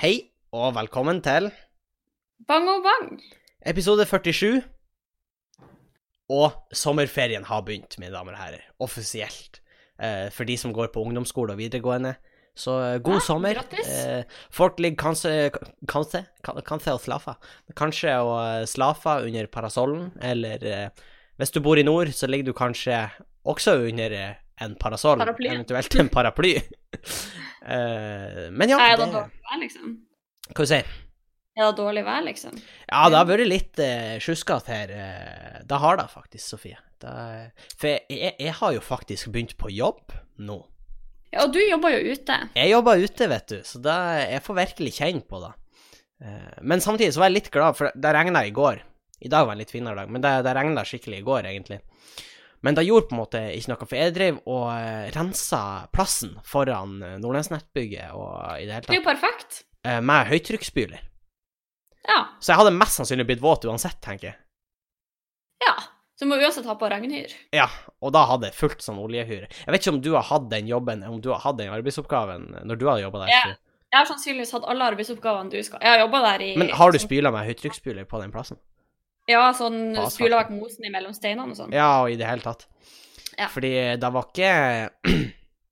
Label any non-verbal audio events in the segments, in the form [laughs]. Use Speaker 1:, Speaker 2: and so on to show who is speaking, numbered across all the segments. Speaker 1: Hei, og velkommen til
Speaker 2: Bang og bang.
Speaker 1: episode 47. Og sommerferien har begynt, mine damer og herrer, offisielt. Eh, for de som går på ungdomsskole og videregående. Så eh, god
Speaker 2: Ja,
Speaker 1: sommer.
Speaker 2: Ah, grattis.
Speaker 1: Eh, folk ligger kanskje Kanskje, kan- kanskje og slafer. Kanskje og eh, slafer under parasollen, eller eh, hvis du bor i nord, så ligger du kanskje også under eh, en parasoll,
Speaker 2: Paraply.
Speaker 1: eventuelt en paraply. [laughs] eh, men ja,
Speaker 2: er det
Speaker 1: det,
Speaker 2: dårlig vær, liksom?
Speaker 1: hva du sier
Speaker 2: Er det dårlig vær, liksom?
Speaker 1: Ja, det har vært litt uh, sjuskete her. eh, det har det faktisk, Sofie. Det, for jeg, jeg har jo faktisk begynt på jobb nå.
Speaker 2: Ja, og du jobber jo ute.
Speaker 1: Jeg jobber ute, vet du, så det, jeg får virkelig kjenne på det. Eh, men samtidig så var jeg litt glad, for det regna i går. I dag var en litt finere dag, men det, det regna skikkelig i går, egentlig. Men det gjorde på en måte ikke noe, for jeg drev og eh, rensa plassen foran eh, Nordlandsnettbygget og i det hele
Speaker 2: Det er
Speaker 1: tatt,
Speaker 2: jo perfekt.
Speaker 1: eh, med høytrykksspyler.
Speaker 2: Ja.
Speaker 1: Så jeg hadde mest sannsynlig blitt våt uansett, tenker jeg.
Speaker 2: ja. Så må vi også ta på regnhyr.
Speaker 1: Ja, og da hadde jeg fullt sånn oljehyre. Jeg vet ikke om du har hatt den jobben, om du har hatt den arbeidsoppgaven når du har jobba der.
Speaker 2: Ja.
Speaker 1: Astrid.
Speaker 2: Jeg har sannsynligvis hatt alle arbeidsoppgavene du skal Jeg har jobba der i
Speaker 1: Men har du spyla med høytrykksspyler på den plassen?
Speaker 2: Ja, sånn
Speaker 1: På asfalten?
Speaker 2: spyla vekk mosen imellom steinene og sånn.
Speaker 1: Ja, og i det hele tatt.
Speaker 2: Ja.
Speaker 1: Fordi det var ikke [clears throat]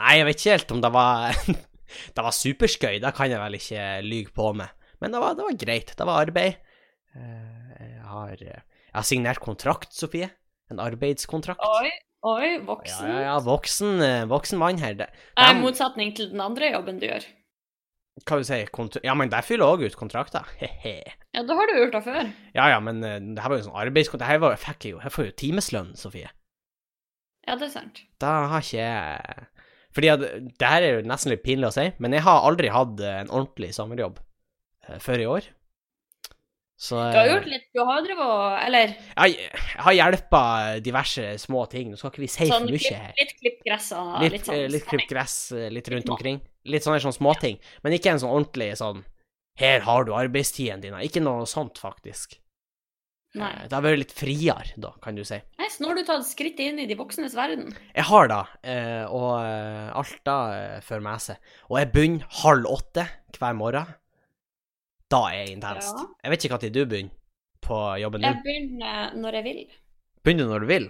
Speaker 1: Nei, jeg vet ikke helt om det var [laughs] Det var superskøy, det kan jeg vel ikke lyge på med. Men det var, det var greit. Det var arbeid. Eh, Jeg har, jeg har signert kontrakt, Sofie. En arbeidskontrakt.
Speaker 2: Oi, oi,
Speaker 1: ja,
Speaker 2: voksen.
Speaker 1: ja, ja, voksen, eh, voksen mann her. Det,
Speaker 2: Nei,
Speaker 1: dem-
Speaker 2: I motsetning til den andre jobben du gjør.
Speaker 1: hva du sier, kont Ja, men der fyller òg ut kontrakter. [laughs] He-he.
Speaker 2: Ja, da har du gjort det før.
Speaker 1: Ja ja, men eh, det her var jo sånn arbeidskontrakt Her var, fikk jeg jo Her får jeg jo timeslønn, Sofie.
Speaker 2: Ja, det er sant.
Speaker 1: Da har ikke jeg Fordi at eh, Det her er jo nesten litt pinlig å si, men jeg har aldri hatt eh, en ordentlig sommerjobb eh, før i år. Så eh,
Speaker 2: Du har gjort litt Du har jo drevet og Eller
Speaker 1: Jeg, jeg har hjelpa diverse små ting. Nå skal ikke vi si
Speaker 2: sånn
Speaker 1: for mye her.
Speaker 2: klipp, litt klipp gresset og
Speaker 1: Litt,
Speaker 2: litt
Speaker 1: litt,
Speaker 2: sånn.
Speaker 1: litt klipp gress eh, litt rundt
Speaker 2: mat.
Speaker 1: omkring. Litt sånne, sånne småting. Men ikke en sånn ordentlig sånn Her har du arbeidstiden din. Ikke noe sånt, faktisk.
Speaker 2: Nei.
Speaker 1: Eh, Det har vært litt friere, da, kan du si.
Speaker 2: Nei, så nå har du tatt skrittet inn i de voksnes verden.
Speaker 1: Jeg har da, eh, og eh, alt da eh, fører med seg. Og jeg begynner halv åtte hver morgen. Da er jeg intenst.
Speaker 2: Ja.
Speaker 1: Jeg vet ikke når du begynner på jobben
Speaker 2: Jeg
Speaker 1: din.
Speaker 2: begynner når jeg vil.
Speaker 1: Begynner du når du vil?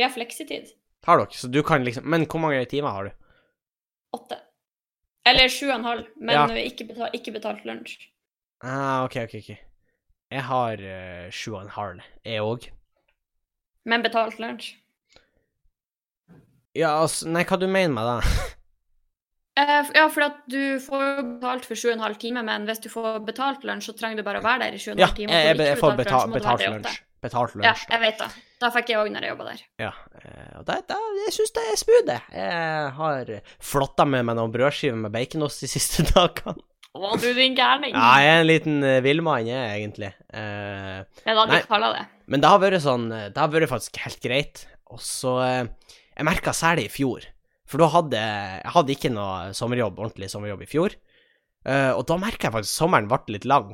Speaker 2: Vi har fleksitid.
Speaker 1: Har dere, så du kan liksom Men hvor mange timer har du?
Speaker 2: Åtte. Eller sju og en halv, men
Speaker 1: Ja.
Speaker 2: ikke, betal, ikke betalt lunsj.
Speaker 1: Ah, OK, OK, OK. Jeg har eh, sju og en halv, jeg òg.
Speaker 2: Men betalt lunsj.
Speaker 1: Ja, altså Nei, hva du mener med det?
Speaker 2: Eh, f- ja, for at du får jo betalt for sju og en halv time, men hvis du får betalt lunsj, så trenger du bare å være der i sju og en
Speaker 1: Ja,
Speaker 2: halv
Speaker 1: jeg,
Speaker 2: time.
Speaker 1: jeg, jeg får
Speaker 2: lunsj,
Speaker 1: betalt,
Speaker 2: må du være
Speaker 1: betalt
Speaker 2: der i åtte.
Speaker 1: lunsj. Betalt
Speaker 2: Ja,
Speaker 1: lunsj. da.
Speaker 2: jeg vet det. Da fikk jeg òg når jeg jobba der.
Speaker 1: Ja, eh, og det, det, jeg syns det er smooth, jeg. Jeg har flotta med meg noen brødskiver med baconost de siste [laughs] dagene.
Speaker 2: Å, du din gærning.
Speaker 1: Ja, jeg er en liten eh, villmann, jeg, egentlig. Eh,
Speaker 2: Det er da de
Speaker 1: Nei.
Speaker 2: kaller det.
Speaker 1: Men det har vært sånn eh, Det har vært faktisk helt greit. Og så eh, Jeg merka særlig i fjor, for da hadde jeg hadde ikke noe sommerjobb, ordentlig sommerjobb i fjor. Eh, og da merka jeg faktisk at sommeren ble litt lang.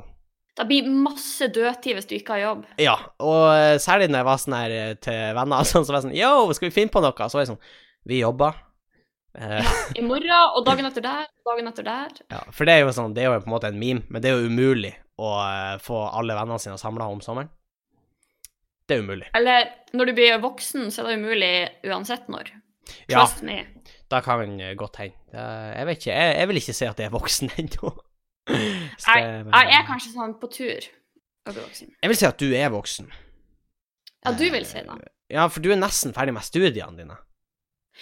Speaker 2: Det blir masse dødtid hvis du ikke har jobb.
Speaker 1: Ja, og eh, særlig når jeg var sånn her eh, til venner, sånn, så var jeg sånn Yo, skal vi finne på noe? Så var jeg sånn Vi jobber. Eh,
Speaker 2: I morgen og dagen etter der og dagen etter der.
Speaker 1: Ja, for det er jo sånn, det er jo på en måte en meme, men det er jo umulig å eh, få alle vennene sine samla om sommeren. Det er umulig.
Speaker 2: Eller når du blir voksen, så er det umulig uansett når.
Speaker 1: Ja,
Speaker 2: Trust me.
Speaker 1: da kan man eh, godt hende. Det- Jeg vet ikke, jeg, jeg vil ikke si at jeg er voksen [laughs] ennå. Så det- men-
Speaker 2: Jeg er kanskje sånn på tur å bli voksen.
Speaker 1: Jeg vil si at du er voksen.
Speaker 2: Ja, du vil si det.
Speaker 1: Ja, for du er nesten ferdig med studiene dine.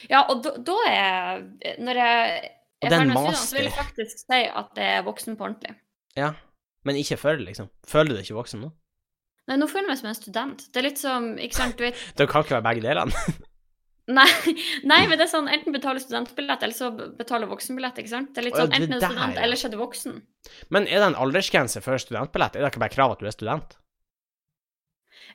Speaker 2: Ja, og da, da er jeg Når jeg
Speaker 1: Og
Speaker 2: er
Speaker 1: den
Speaker 2: ferdig med studiene, så vil jeg
Speaker 1: master.
Speaker 2: faktisk si at jeg er voksen på ordentlig.
Speaker 1: Ja, men ikke før, liksom. Føler du deg ikke voksen nå?
Speaker 2: Nei, nå føler jeg meg som en student. Det er litt som Ikke sant, du vet [laughs]
Speaker 1: Du kan ikke være begge delene. [laughs]
Speaker 2: Nei, nei men det er sånn enten betaler studentbillett, eller så betaler voksenbillett, ikke sant? Det er litt
Speaker 1: Å, ja,
Speaker 2: sånn
Speaker 1: det
Speaker 2: enten er du
Speaker 1: der,
Speaker 2: student,
Speaker 1: ja.
Speaker 2: eller så er du voksen.
Speaker 1: Men er det en aldersgrense for studentbillett? Er det ikke bare krav at du er student?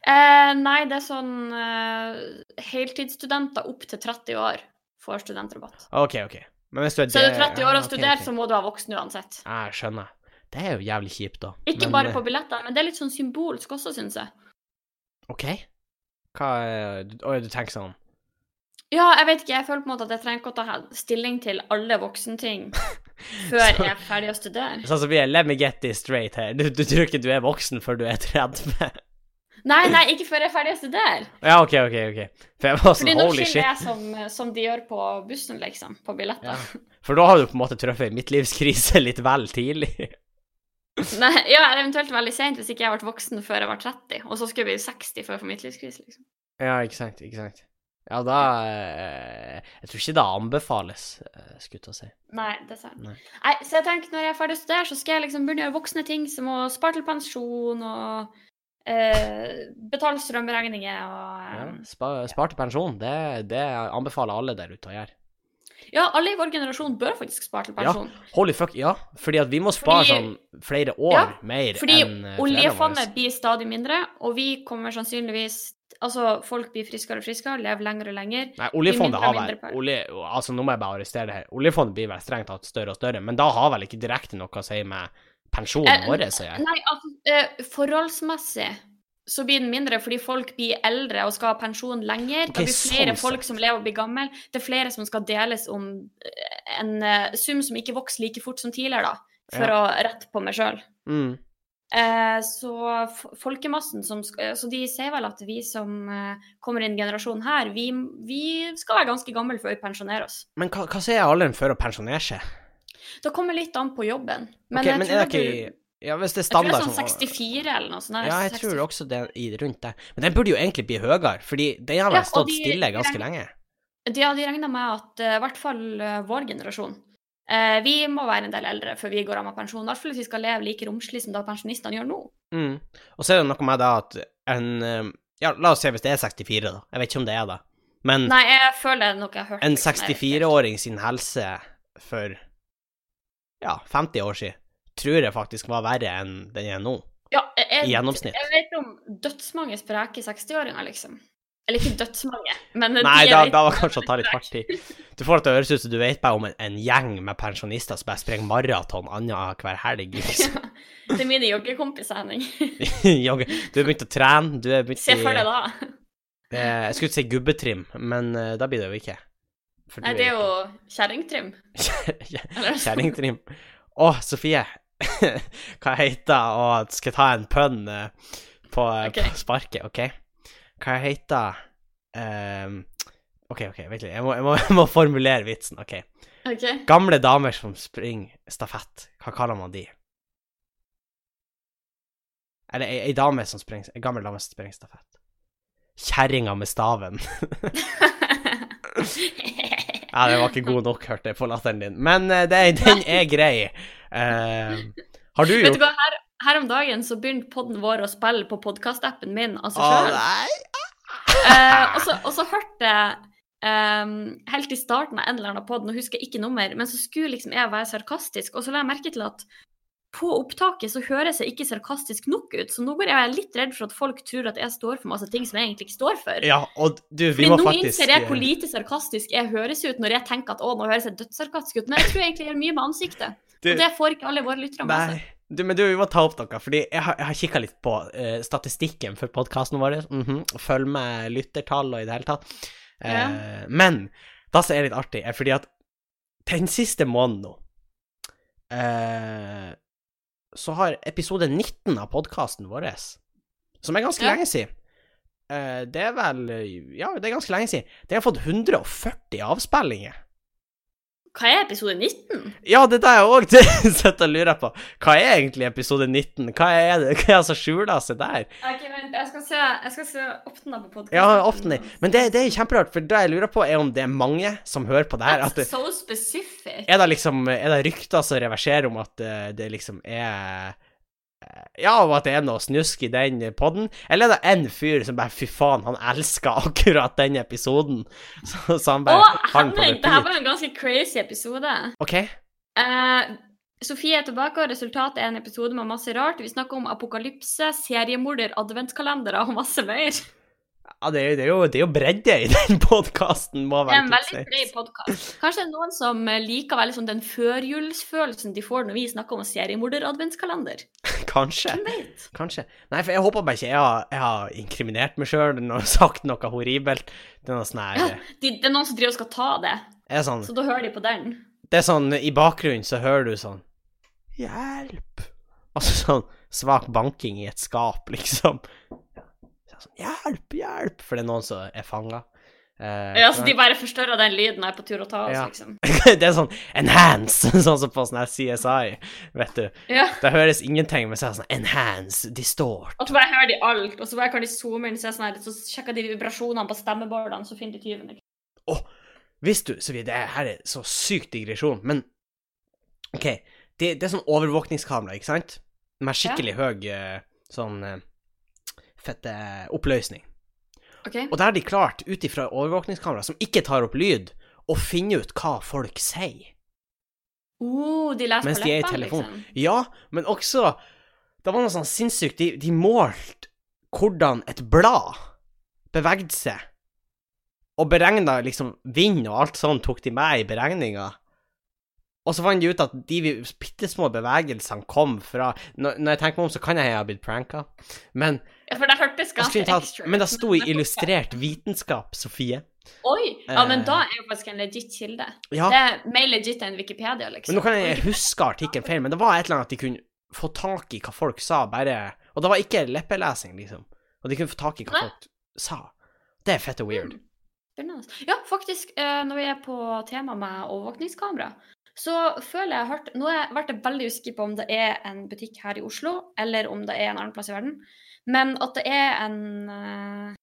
Speaker 2: Eh, nei, det er sånn eh, Heltidsstudenter opp til 30 år får studentrabatt.
Speaker 1: OK, OK. Men hvis du er
Speaker 2: Så er du
Speaker 1: det-
Speaker 2: 30 år
Speaker 1: Ah,
Speaker 2: og
Speaker 1: ok,
Speaker 2: studert,
Speaker 1: ok.
Speaker 2: så må du være voksen uansett.
Speaker 1: Ja, Jeg skjønner. Det er jo jævlig kjipt, da.
Speaker 2: Ikke
Speaker 1: Men,
Speaker 2: bare
Speaker 1: eh,
Speaker 2: på billetter, men det er litt sånn symbolsk også, syns jeg.
Speaker 1: OK. Hva er du- Oi, du tenker sånn [laughs]
Speaker 2: Ja, jeg vet ikke, jeg føler på en måte at jeg trenger ikke å ta he- stilling til alle voksenting før jeg er ferdig å studere.
Speaker 1: Sånn som blir det Let me get this straight her. Du, du tror ikke du er voksen før du er 30?
Speaker 2: Nei, nei, ikke før jeg er ferdig å studere.
Speaker 1: [laughs] ja, OK, OK. ok. For jeg var
Speaker 2: Fordi
Speaker 1: sånn
Speaker 2: nå
Speaker 1: holy
Speaker 2: skiller
Speaker 1: shit.
Speaker 2: jeg som, som de gjør på bussen, liksom. På billetter.
Speaker 1: For da har du på en måte truffet en midtlivskrise [laughs] litt vel tidlig.
Speaker 2: [laughs] Nei, ja, eller eventuelt veldig sent hvis ikke jeg ble voksen før jeg var 30. Og så skulle jeg bli 60 før jeg får midtlivskrise, liksom.
Speaker 1: ja, ikke sant. Ikke sant. Ja, da eh, Jeg tror ikke det anbefales, eh, skulle jeg til å si.
Speaker 2: Nei, det sa jeg.
Speaker 1: Nei.
Speaker 2: Nei, så jeg tenker når jeg er ferdig å studere, så skal jeg liksom begynne å gjøre voksne ting som å spare til pensjon og eh, betale strømregninger og
Speaker 1: Ja,
Speaker 2: eh,
Speaker 1: spa, spar til pensjon. Det, det anbefaler alle der ute å gjøre.
Speaker 2: Ja, alle i vår generasjon bør faktisk spare til
Speaker 1: Ja,
Speaker 2: pensjon.
Speaker 1: Holy fuck, ja. Fordi at vi må spare
Speaker 2: Fordi-
Speaker 1: sånn flere år
Speaker 2: Ja,
Speaker 1: mer
Speaker 2: Fordi
Speaker 1: enn eh, foreldrene våre.
Speaker 2: oljefondet blir stadig mindre, og vi kommer sannsynligvis Altså, folk blir friskere og friskere, lever lenger og lenger.
Speaker 1: Nei, oljefondet
Speaker 2: mindre
Speaker 1: har
Speaker 2: og
Speaker 1: vel
Speaker 2: mindre per-
Speaker 1: olje, Altså, nå må jeg bare arrestere det her. Oljefondet blir vel strengt tatt større og større, men da har vel ikke direkte noe å si med pensjonen
Speaker 2: Eh,
Speaker 1: vår, sier jeg.
Speaker 2: Nei, altså, eh, forholdsmessig så blir den mindre fordi folk blir eldre og skal ha pensjon lenger.
Speaker 1: Ok,
Speaker 2: det blir flere
Speaker 1: sånn
Speaker 2: folk
Speaker 1: sett.
Speaker 2: som lever og blir gamle. Det er flere som skal deles om eh, en eh, sum som ikke vokser like fort som tidligere, da. For å rette på meg sjøl.
Speaker 1: Mm.
Speaker 2: Eh, så f- folkemassen som sk- eh, Så de sier vel at vi som eh, kommer inn i generasjonen her, vi, vi skal være ganske gamle før vi pensjonerer oss.
Speaker 1: Men hva, hva sier alderen for å pensjonere seg?
Speaker 2: Det kommer litt an på jobben. Men
Speaker 1: Ok,
Speaker 2: jeg
Speaker 1: men
Speaker 2: tror
Speaker 1: er det
Speaker 2: at du-
Speaker 1: ikke Ja, hvis det er
Speaker 2: jeg tror det
Speaker 1: standard
Speaker 2: er sånn 64 eller noe sånt.
Speaker 1: Ja, jeg tror også det er i, rundt det. Men den burde jo egentlig bli høyere, fordi den har
Speaker 2: Ja,
Speaker 1: vel
Speaker 2: og
Speaker 1: stått
Speaker 2: de-
Speaker 1: stille
Speaker 2: de
Speaker 1: ganske
Speaker 2: regner-
Speaker 1: lenge.
Speaker 2: De, ja, de regner med at eh, i hvert fall eh, vår generasjon eh, Vi må være en del eldre før vi går av med pensjon. I hvert fall hvis vi skal leve like romslig som da pensjonistene gjør nå.
Speaker 1: Mm. Og så er det noe med det at en eh, Ja, la oss se hvis det er 64, da. Jeg vet ikke om det er det. Men
Speaker 2: Nei, jeg føler det er noe jeg har hørt.
Speaker 1: Mm. en
Speaker 2: liksom, jeg-
Speaker 1: 64-åring sin helse for ja, 50 år siden tror jeg faktisk var verre enn den er nå,
Speaker 2: Ja, jeg, jeg,
Speaker 1: i gjennomsnitt.
Speaker 2: Jeg vet om dødsmange spreke 60-åringer, liksom. Eller ikke dødsmange, men
Speaker 1: Nei,
Speaker 2: de er
Speaker 1: da,
Speaker 2: litt-
Speaker 1: da
Speaker 2: [laughs]
Speaker 1: var kanskje å ta litt hardt i. Du får det til å høres ut som du vet bare om en, en gjeng med pensjonister som bare springer maraton annenhver
Speaker 2: [laughs]
Speaker 1: helg. Liksom.
Speaker 2: Det er mine joggekompiser, Henning.
Speaker 1: Jogge. du har begynt å trene, du har begynt
Speaker 2: Se for deg
Speaker 1: i
Speaker 2: da.
Speaker 1: eh, Jeg skulle ikke si gubbetrim, men eh, da blir det jo ikke. For
Speaker 2: Nei,
Speaker 1: du
Speaker 2: det er jo kjerringtrim. eller?
Speaker 1: Kjerringtrim. Å, Sofie. [laughs] Hva heter Og skal jeg ta en pønn eh, på,
Speaker 2: Ok.
Speaker 1: på sparket, OK? Hva heter ehm, OK, OK, vent litt. Jeg må, jeg, må, [laughs] jeg må formulere vitsen. OK.
Speaker 2: [laughs] Ok. [laughs]
Speaker 1: Gamle damer som springer stafett, hva kaller man de? Eller ei, ei dame som springer Ei gammel dame som springer stafett. Kjerringa med staven. [laughs] Ja, den var ikke god nok, hørte jeg på latteren din. Men eh, det, den er grei. Eh, har du
Speaker 2: Vet
Speaker 1: gjort
Speaker 2: du hva, her, her om dagen så begynte podden vår å spille på podkastappen min av seg
Speaker 1: Å,
Speaker 2: sjøl.
Speaker 1: nei.
Speaker 2: Eh, og, så- og så hørte jeg ehm, helt i starten av en eller annen podd, nå husker jeg ikke nummer, men så skulle liksom jeg være sarkastisk, og så la jeg merke til at på opptaket så høres jeg ikke sarkastisk nok ut, så nå går jeg litt redd for at folk tror at jeg står for masse ting som jeg egentlig ikke står for.
Speaker 1: Ja, og du, vi
Speaker 2: Fordi
Speaker 1: må
Speaker 2: nå
Speaker 1: faktisk
Speaker 2: innser jeg
Speaker 1: eh,
Speaker 2: hvor lite sarkastisk jeg høres ut når jeg tenker at å, nå høres jeg dødssarkastisk ut, men jeg tror jeg egentlig jeg gjør mye med ansiktet.
Speaker 1: du,
Speaker 2: Og det får ikke alle våre lyttere med
Speaker 1: Nei.
Speaker 2: seg.
Speaker 1: Du, men du, vi må ta opp noe, fordi jeg har, jeg har kikka litt på eh, statistikken for podkasten vår. mhm, Følg med lyttertall og i det hele tatt. Eh,
Speaker 2: Ja.
Speaker 1: Men det som er litt artig, er fordi at den siste måneden nå eh, Så har episode 19 av podkasten vår, som er ganske
Speaker 2: Ja.
Speaker 1: lenge siden eh, Det er vel Ja, det er ganske lenge siden. Det har fått 140 avspillinger.
Speaker 2: Hva er episode 19?
Speaker 1: Ja, det er det jeg òg [laughs] sitter og lurer på. Hva er egentlig episode 19? Hva er det Hva er det som skjuler seg der?
Speaker 2: Ok, vent, jeg skal se, jeg skal se åpne på podkasten.
Speaker 1: Ja, ofte Men det, det er kjemperart, for det jeg lurer på, er om det er mange som hører på det her. At det,
Speaker 2: That's so specific.
Speaker 1: er det liksom Er det rykter som reverserer om at eh, det liksom er eh, ja, og at det er noe snusk i den podden. Eller er det en fyr som bare Fy faen, han elsker [laughs] akkurat den episoden. Så, så han
Speaker 2: Å,
Speaker 1: bare har den på
Speaker 2: Henrik, det her
Speaker 1: repeat.
Speaker 2: var en ganske crazy episode.
Speaker 1: OK?
Speaker 2: Eh, Sofie er tilbake, og resultatet er en episode med masse rart. Vi snakker om apokalypse, seriemorder, adventskalendere og masse mer.
Speaker 1: Ja, det er, jo- det er jo, det er jo bredde i den [laughs] podkasten, må
Speaker 2: Det er en
Speaker 1: vel
Speaker 2: veldig
Speaker 1: kunne
Speaker 2: bred podkast. Kanskje det er noen som eh, liker veldig sånn den førjulsfølelsen de får når vi snakker om seriemorder-adventskalender.
Speaker 1: si. Kanskje.
Speaker 2: Hvem vet?
Speaker 1: Kanskje. Nei, for jeg håper bare ikke jeg har, jeg har inkriminert meg sjøl og sagt noe horribelt. Det er noe sånn her
Speaker 2: De, det er noen som driver og skal ta det,
Speaker 1: jeg er sånn,
Speaker 2: så da hører de på den.
Speaker 1: Det er sånn I bakgrunnen så hører du sånn Hjelp! Altså sånn svak banking i et skap, [laughs] liksom. Så jeg er Sånn, hjelp, hjelp! For det er noen som er fanga. Eh,
Speaker 2: Ja, så Altså, de bare forstørrer den lyden jeg er på tur å ta oss,
Speaker 1: Ja.
Speaker 2: liksom.
Speaker 1: [laughs] det er sånn enhance, [laughs] sånn som på sånn her CSI, vet du.
Speaker 2: Ja.
Speaker 1: Det høres ingenting, men så er det sånn enhance, distort.
Speaker 2: Og så bare hører de alt, og så bare kan de zoome inn og se sånn her, så sjekker de vibrasjonene på stemmebordene, så finner de tyven. ikke?
Speaker 1: Visste du, Sofie, det her er så sykt digresjon, men OK, det, det er sånn overvåkningskamera, ikke sant? Med skikkelig høy eh, sånn eh, fette oppløsning.
Speaker 2: OK?
Speaker 1: Og der har de klart, ut ifra overvåkningskamera som ikke tar opp lyd, å finne ut hva folk sier.
Speaker 2: Oh, de leser
Speaker 1: Mens
Speaker 2: på
Speaker 1: de er i
Speaker 2: leppene,
Speaker 1: telefon.
Speaker 2: liksom.
Speaker 1: Ja, men også Det var noe sånn sinnssykt De, de målte hvordan et blad bevegde seg, og beregna liksom vind og alt sånt, tok de med i beregninga. Og så fant de ut at de bitte små bevegelsene kom fra Når, når jeg tenker meg om, så kan jeg ha blitt pranka, men,
Speaker 2: Ja, for det hørtes
Speaker 1: jeg
Speaker 2: ganske
Speaker 1: skulle ta,
Speaker 2: ekstra ut, [laughs]
Speaker 1: men det sto i
Speaker 2: men-
Speaker 1: Illustrert vitenskap, Sofie.
Speaker 2: Oi! Ja,
Speaker 1: Eh.
Speaker 2: men da er jo faktisk en legit kilde.
Speaker 1: Ja,
Speaker 2: Det er mer legit enn Wikipedia, liksom.
Speaker 1: Men nå kan jeg huske artikkelen feil, men det var et eller annet at de kunne få tak i hva folk sa, bare Og det var ikke leppelesing, liksom. Og de kunne få tak i hva
Speaker 2: Nei.
Speaker 1: folk sa. Det er fette weird.
Speaker 2: Spennende. Ja, faktisk, eh, når vi er på tema med overvåkningskamera, så føler jeg jeg har hørt Nå har jeg vært veldig usikker på om det er en butikk her i Oslo, eller om det er en annen plass i verden, men at det er en eh,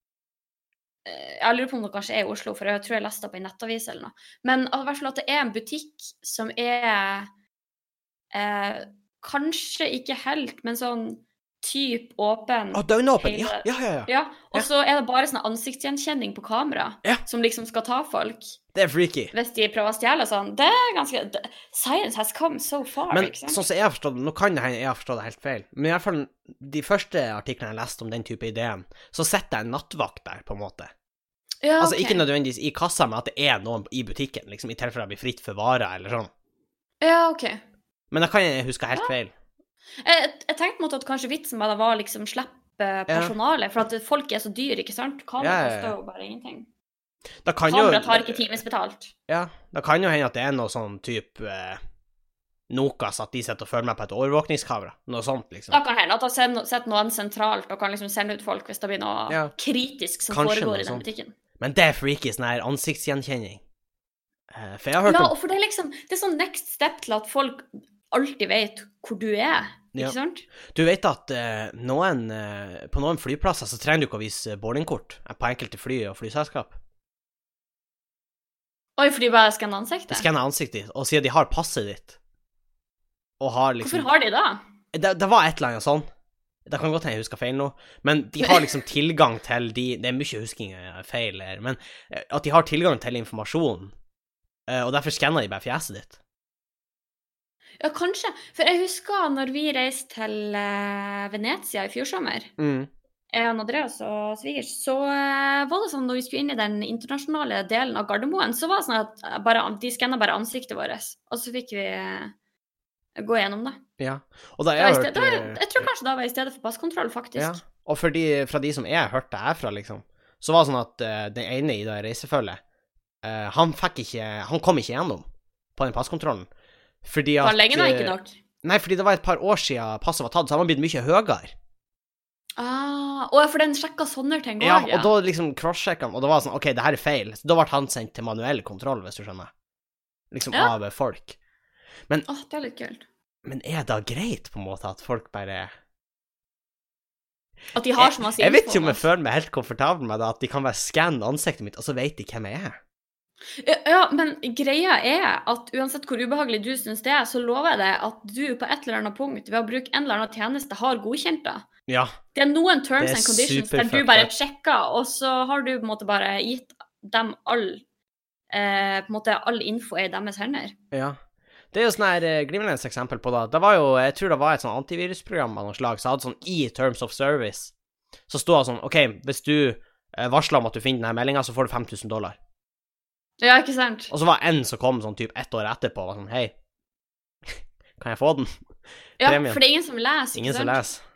Speaker 2: eh, Jeg lurer på om det kanskje er i Oslo, for jeg tror jeg leste det på en nettavis eller noe. Men at- i hvert fall at det er en butikk som er eh, Kanskje ikke helt, men sånn type åpen.
Speaker 1: Å, døgnåpen! Ja,
Speaker 2: Mm. Hele-
Speaker 1: ja, ja, ja.
Speaker 2: Ja, og
Speaker 1: Ja.
Speaker 2: så er det bare sånn ansiktsgjenkjenning på kamera
Speaker 1: Ja.
Speaker 2: som liksom skal ta folk
Speaker 1: Det er freaky.
Speaker 2: hvis de prøver å stjele og sånn. Det er ganske det, Science has come so far,
Speaker 1: Men
Speaker 2: ikke
Speaker 1: sånn
Speaker 2: sant?
Speaker 1: som jeg har forstått det, nå kan det hende jeg har forstått det helt feil, men i hvert fall de første artiklene jeg leste om den type ideen, så sitter det en nattvakt der, på en måte.
Speaker 2: ja,
Speaker 1: Altså
Speaker 2: ok.
Speaker 1: ikke nødvendigvis i kassa, men at det er noen i butikken, liksom, i tilfelle jeg blir fritt for varer eller sånn.
Speaker 2: Ja, OK.
Speaker 1: Men da kan jeg huske helt feil.
Speaker 2: Jeg, jeg tenkte mot at kanskje vitsen med det var liksom slippe personalet, for at folk er så dyr, ikke sant? Kamera
Speaker 1: Ja, ja, ja.
Speaker 2: koster jo bare ingenting.
Speaker 1: Da kan jo
Speaker 2: Kamera Sånn, tar ikke timesbetalt.
Speaker 1: Ja, det kan jo hende at det er noe sånn type eh, Nokas, at de sitter og følger meg på et overvåkningskamera. Noe sånt, liksom.
Speaker 2: Da kan hende at jeg sitter noen sentralt og kan liksom sende ut folk hvis det blir noe
Speaker 1: Ja.
Speaker 2: kritisk som
Speaker 1: Kanskje noe
Speaker 2: foregår i den
Speaker 1: sånt.
Speaker 2: butikken.
Speaker 1: Men det er freaky, sånn her ansiktsgjenkjenning. Eh, for jeg har hørt
Speaker 2: ja,
Speaker 1: om
Speaker 2: og for det er liksom Det er sånn next step til at folk alltid vet hvor du er,
Speaker 1: Ja.
Speaker 2: ikke sant?
Speaker 1: Du vet at eh, noen, eh, på noen flyplasser så trenger du ikke å vise boardingkort eh, på enkelte fly og flyselskap.
Speaker 2: Oi, for de bare skanner
Speaker 1: De
Speaker 2: ansiktet?
Speaker 1: skanner ansiktet ditt og sier de har passet ditt. Og har liksom
Speaker 2: Hvorfor har de det?
Speaker 1: det, det var et eller annet sånn. Det kan godt hende jeg husker feil nå, men de har liksom tilgang til de Det er mye husking eh, feil her, men eh, at de har tilgang til informasjon, eh, og derfor skanner de bare fjeset ditt.
Speaker 2: Ja, kanskje. For jeg husker når vi reiste til eh, Venezia i fjor sommer, jeg og Andreas og svigers, så eh, var det sånn når vi skulle inn i den internasjonale delen av Gardermoen, så var det sånn at eh, bare, de skanna bare ansiktet vårt, og så fikk vi eh, gå gjennom det.
Speaker 1: Ja. Og da jeg
Speaker 2: det var i
Speaker 1: har
Speaker 2: sted,
Speaker 1: hørt
Speaker 2: da,
Speaker 1: eh,
Speaker 2: jeg tror kanskje det var i stedet for passkontroll, faktisk.
Speaker 1: ja. Og for de, fra de som jeg hørte herfra, liksom, så var det sånn at eh, den ene i det reisefølget, eh, han fikk ikke Han kom ikke gjennom på den passkontrollen, fordi at
Speaker 2: Planleggingen er
Speaker 1: eh,
Speaker 2: ikke nok.
Speaker 1: Nei, fordi det var et par år siden passet var tatt, så han var blitt mye høyere.
Speaker 2: Ah, å, ja, for den sjekka sånne ting òg,
Speaker 1: Ja, og da liksom crosssjekka han, og det var sånn OK, det her er feil. Så da ble han sendt til manuell kontroll, hvis du skjønner. Liksom
Speaker 2: Ja.
Speaker 1: av eh, folk.
Speaker 2: Åh, det er litt kult.
Speaker 1: Men er det greit, på en måte, at folk bare
Speaker 2: At de har så masse
Speaker 1: Jeg vet
Speaker 2: info
Speaker 1: ikke om
Speaker 2: om
Speaker 1: jeg føler meg helt komfortabel med det, at de kan bare skanne ansiktet mitt, og så vet de hvem jeg er.
Speaker 2: oss. Ja, ja, men greia er at uansett hvor ubehagelig du syns det er, så lover jeg deg at du på et eller annet punkt ved å bruke en eller annen tjeneste har godkjent det.
Speaker 1: Ja.
Speaker 2: Det er noen terms
Speaker 1: Det er
Speaker 2: and conditions der
Speaker 1: superfucked
Speaker 2: du bare
Speaker 1: up.
Speaker 2: sjekker, og så har du på en måte bare gitt dem all eh, på en måte all info er i deres hender.
Speaker 1: ja. Det er jo sånn her eh, glimrende eksempel på det. Det var jo Jeg tror det var et sånn antivirusprogram av noe slag, så hadde sånn i Terms of Service, så sto det sånn OK, hvis du eh, varsler om at du finner denne meldinga, så får du 5000 dollar.
Speaker 2: Ja, ikke sant?
Speaker 1: Og så var en som kom sånn typ ett år etterpå og var sånn Hei, [laughs] kan jeg få den?
Speaker 2: Ja,
Speaker 1: premien.
Speaker 2: for det er ingen som leser, ikke
Speaker 1: Ingen som
Speaker 2: sant?
Speaker 1: leser.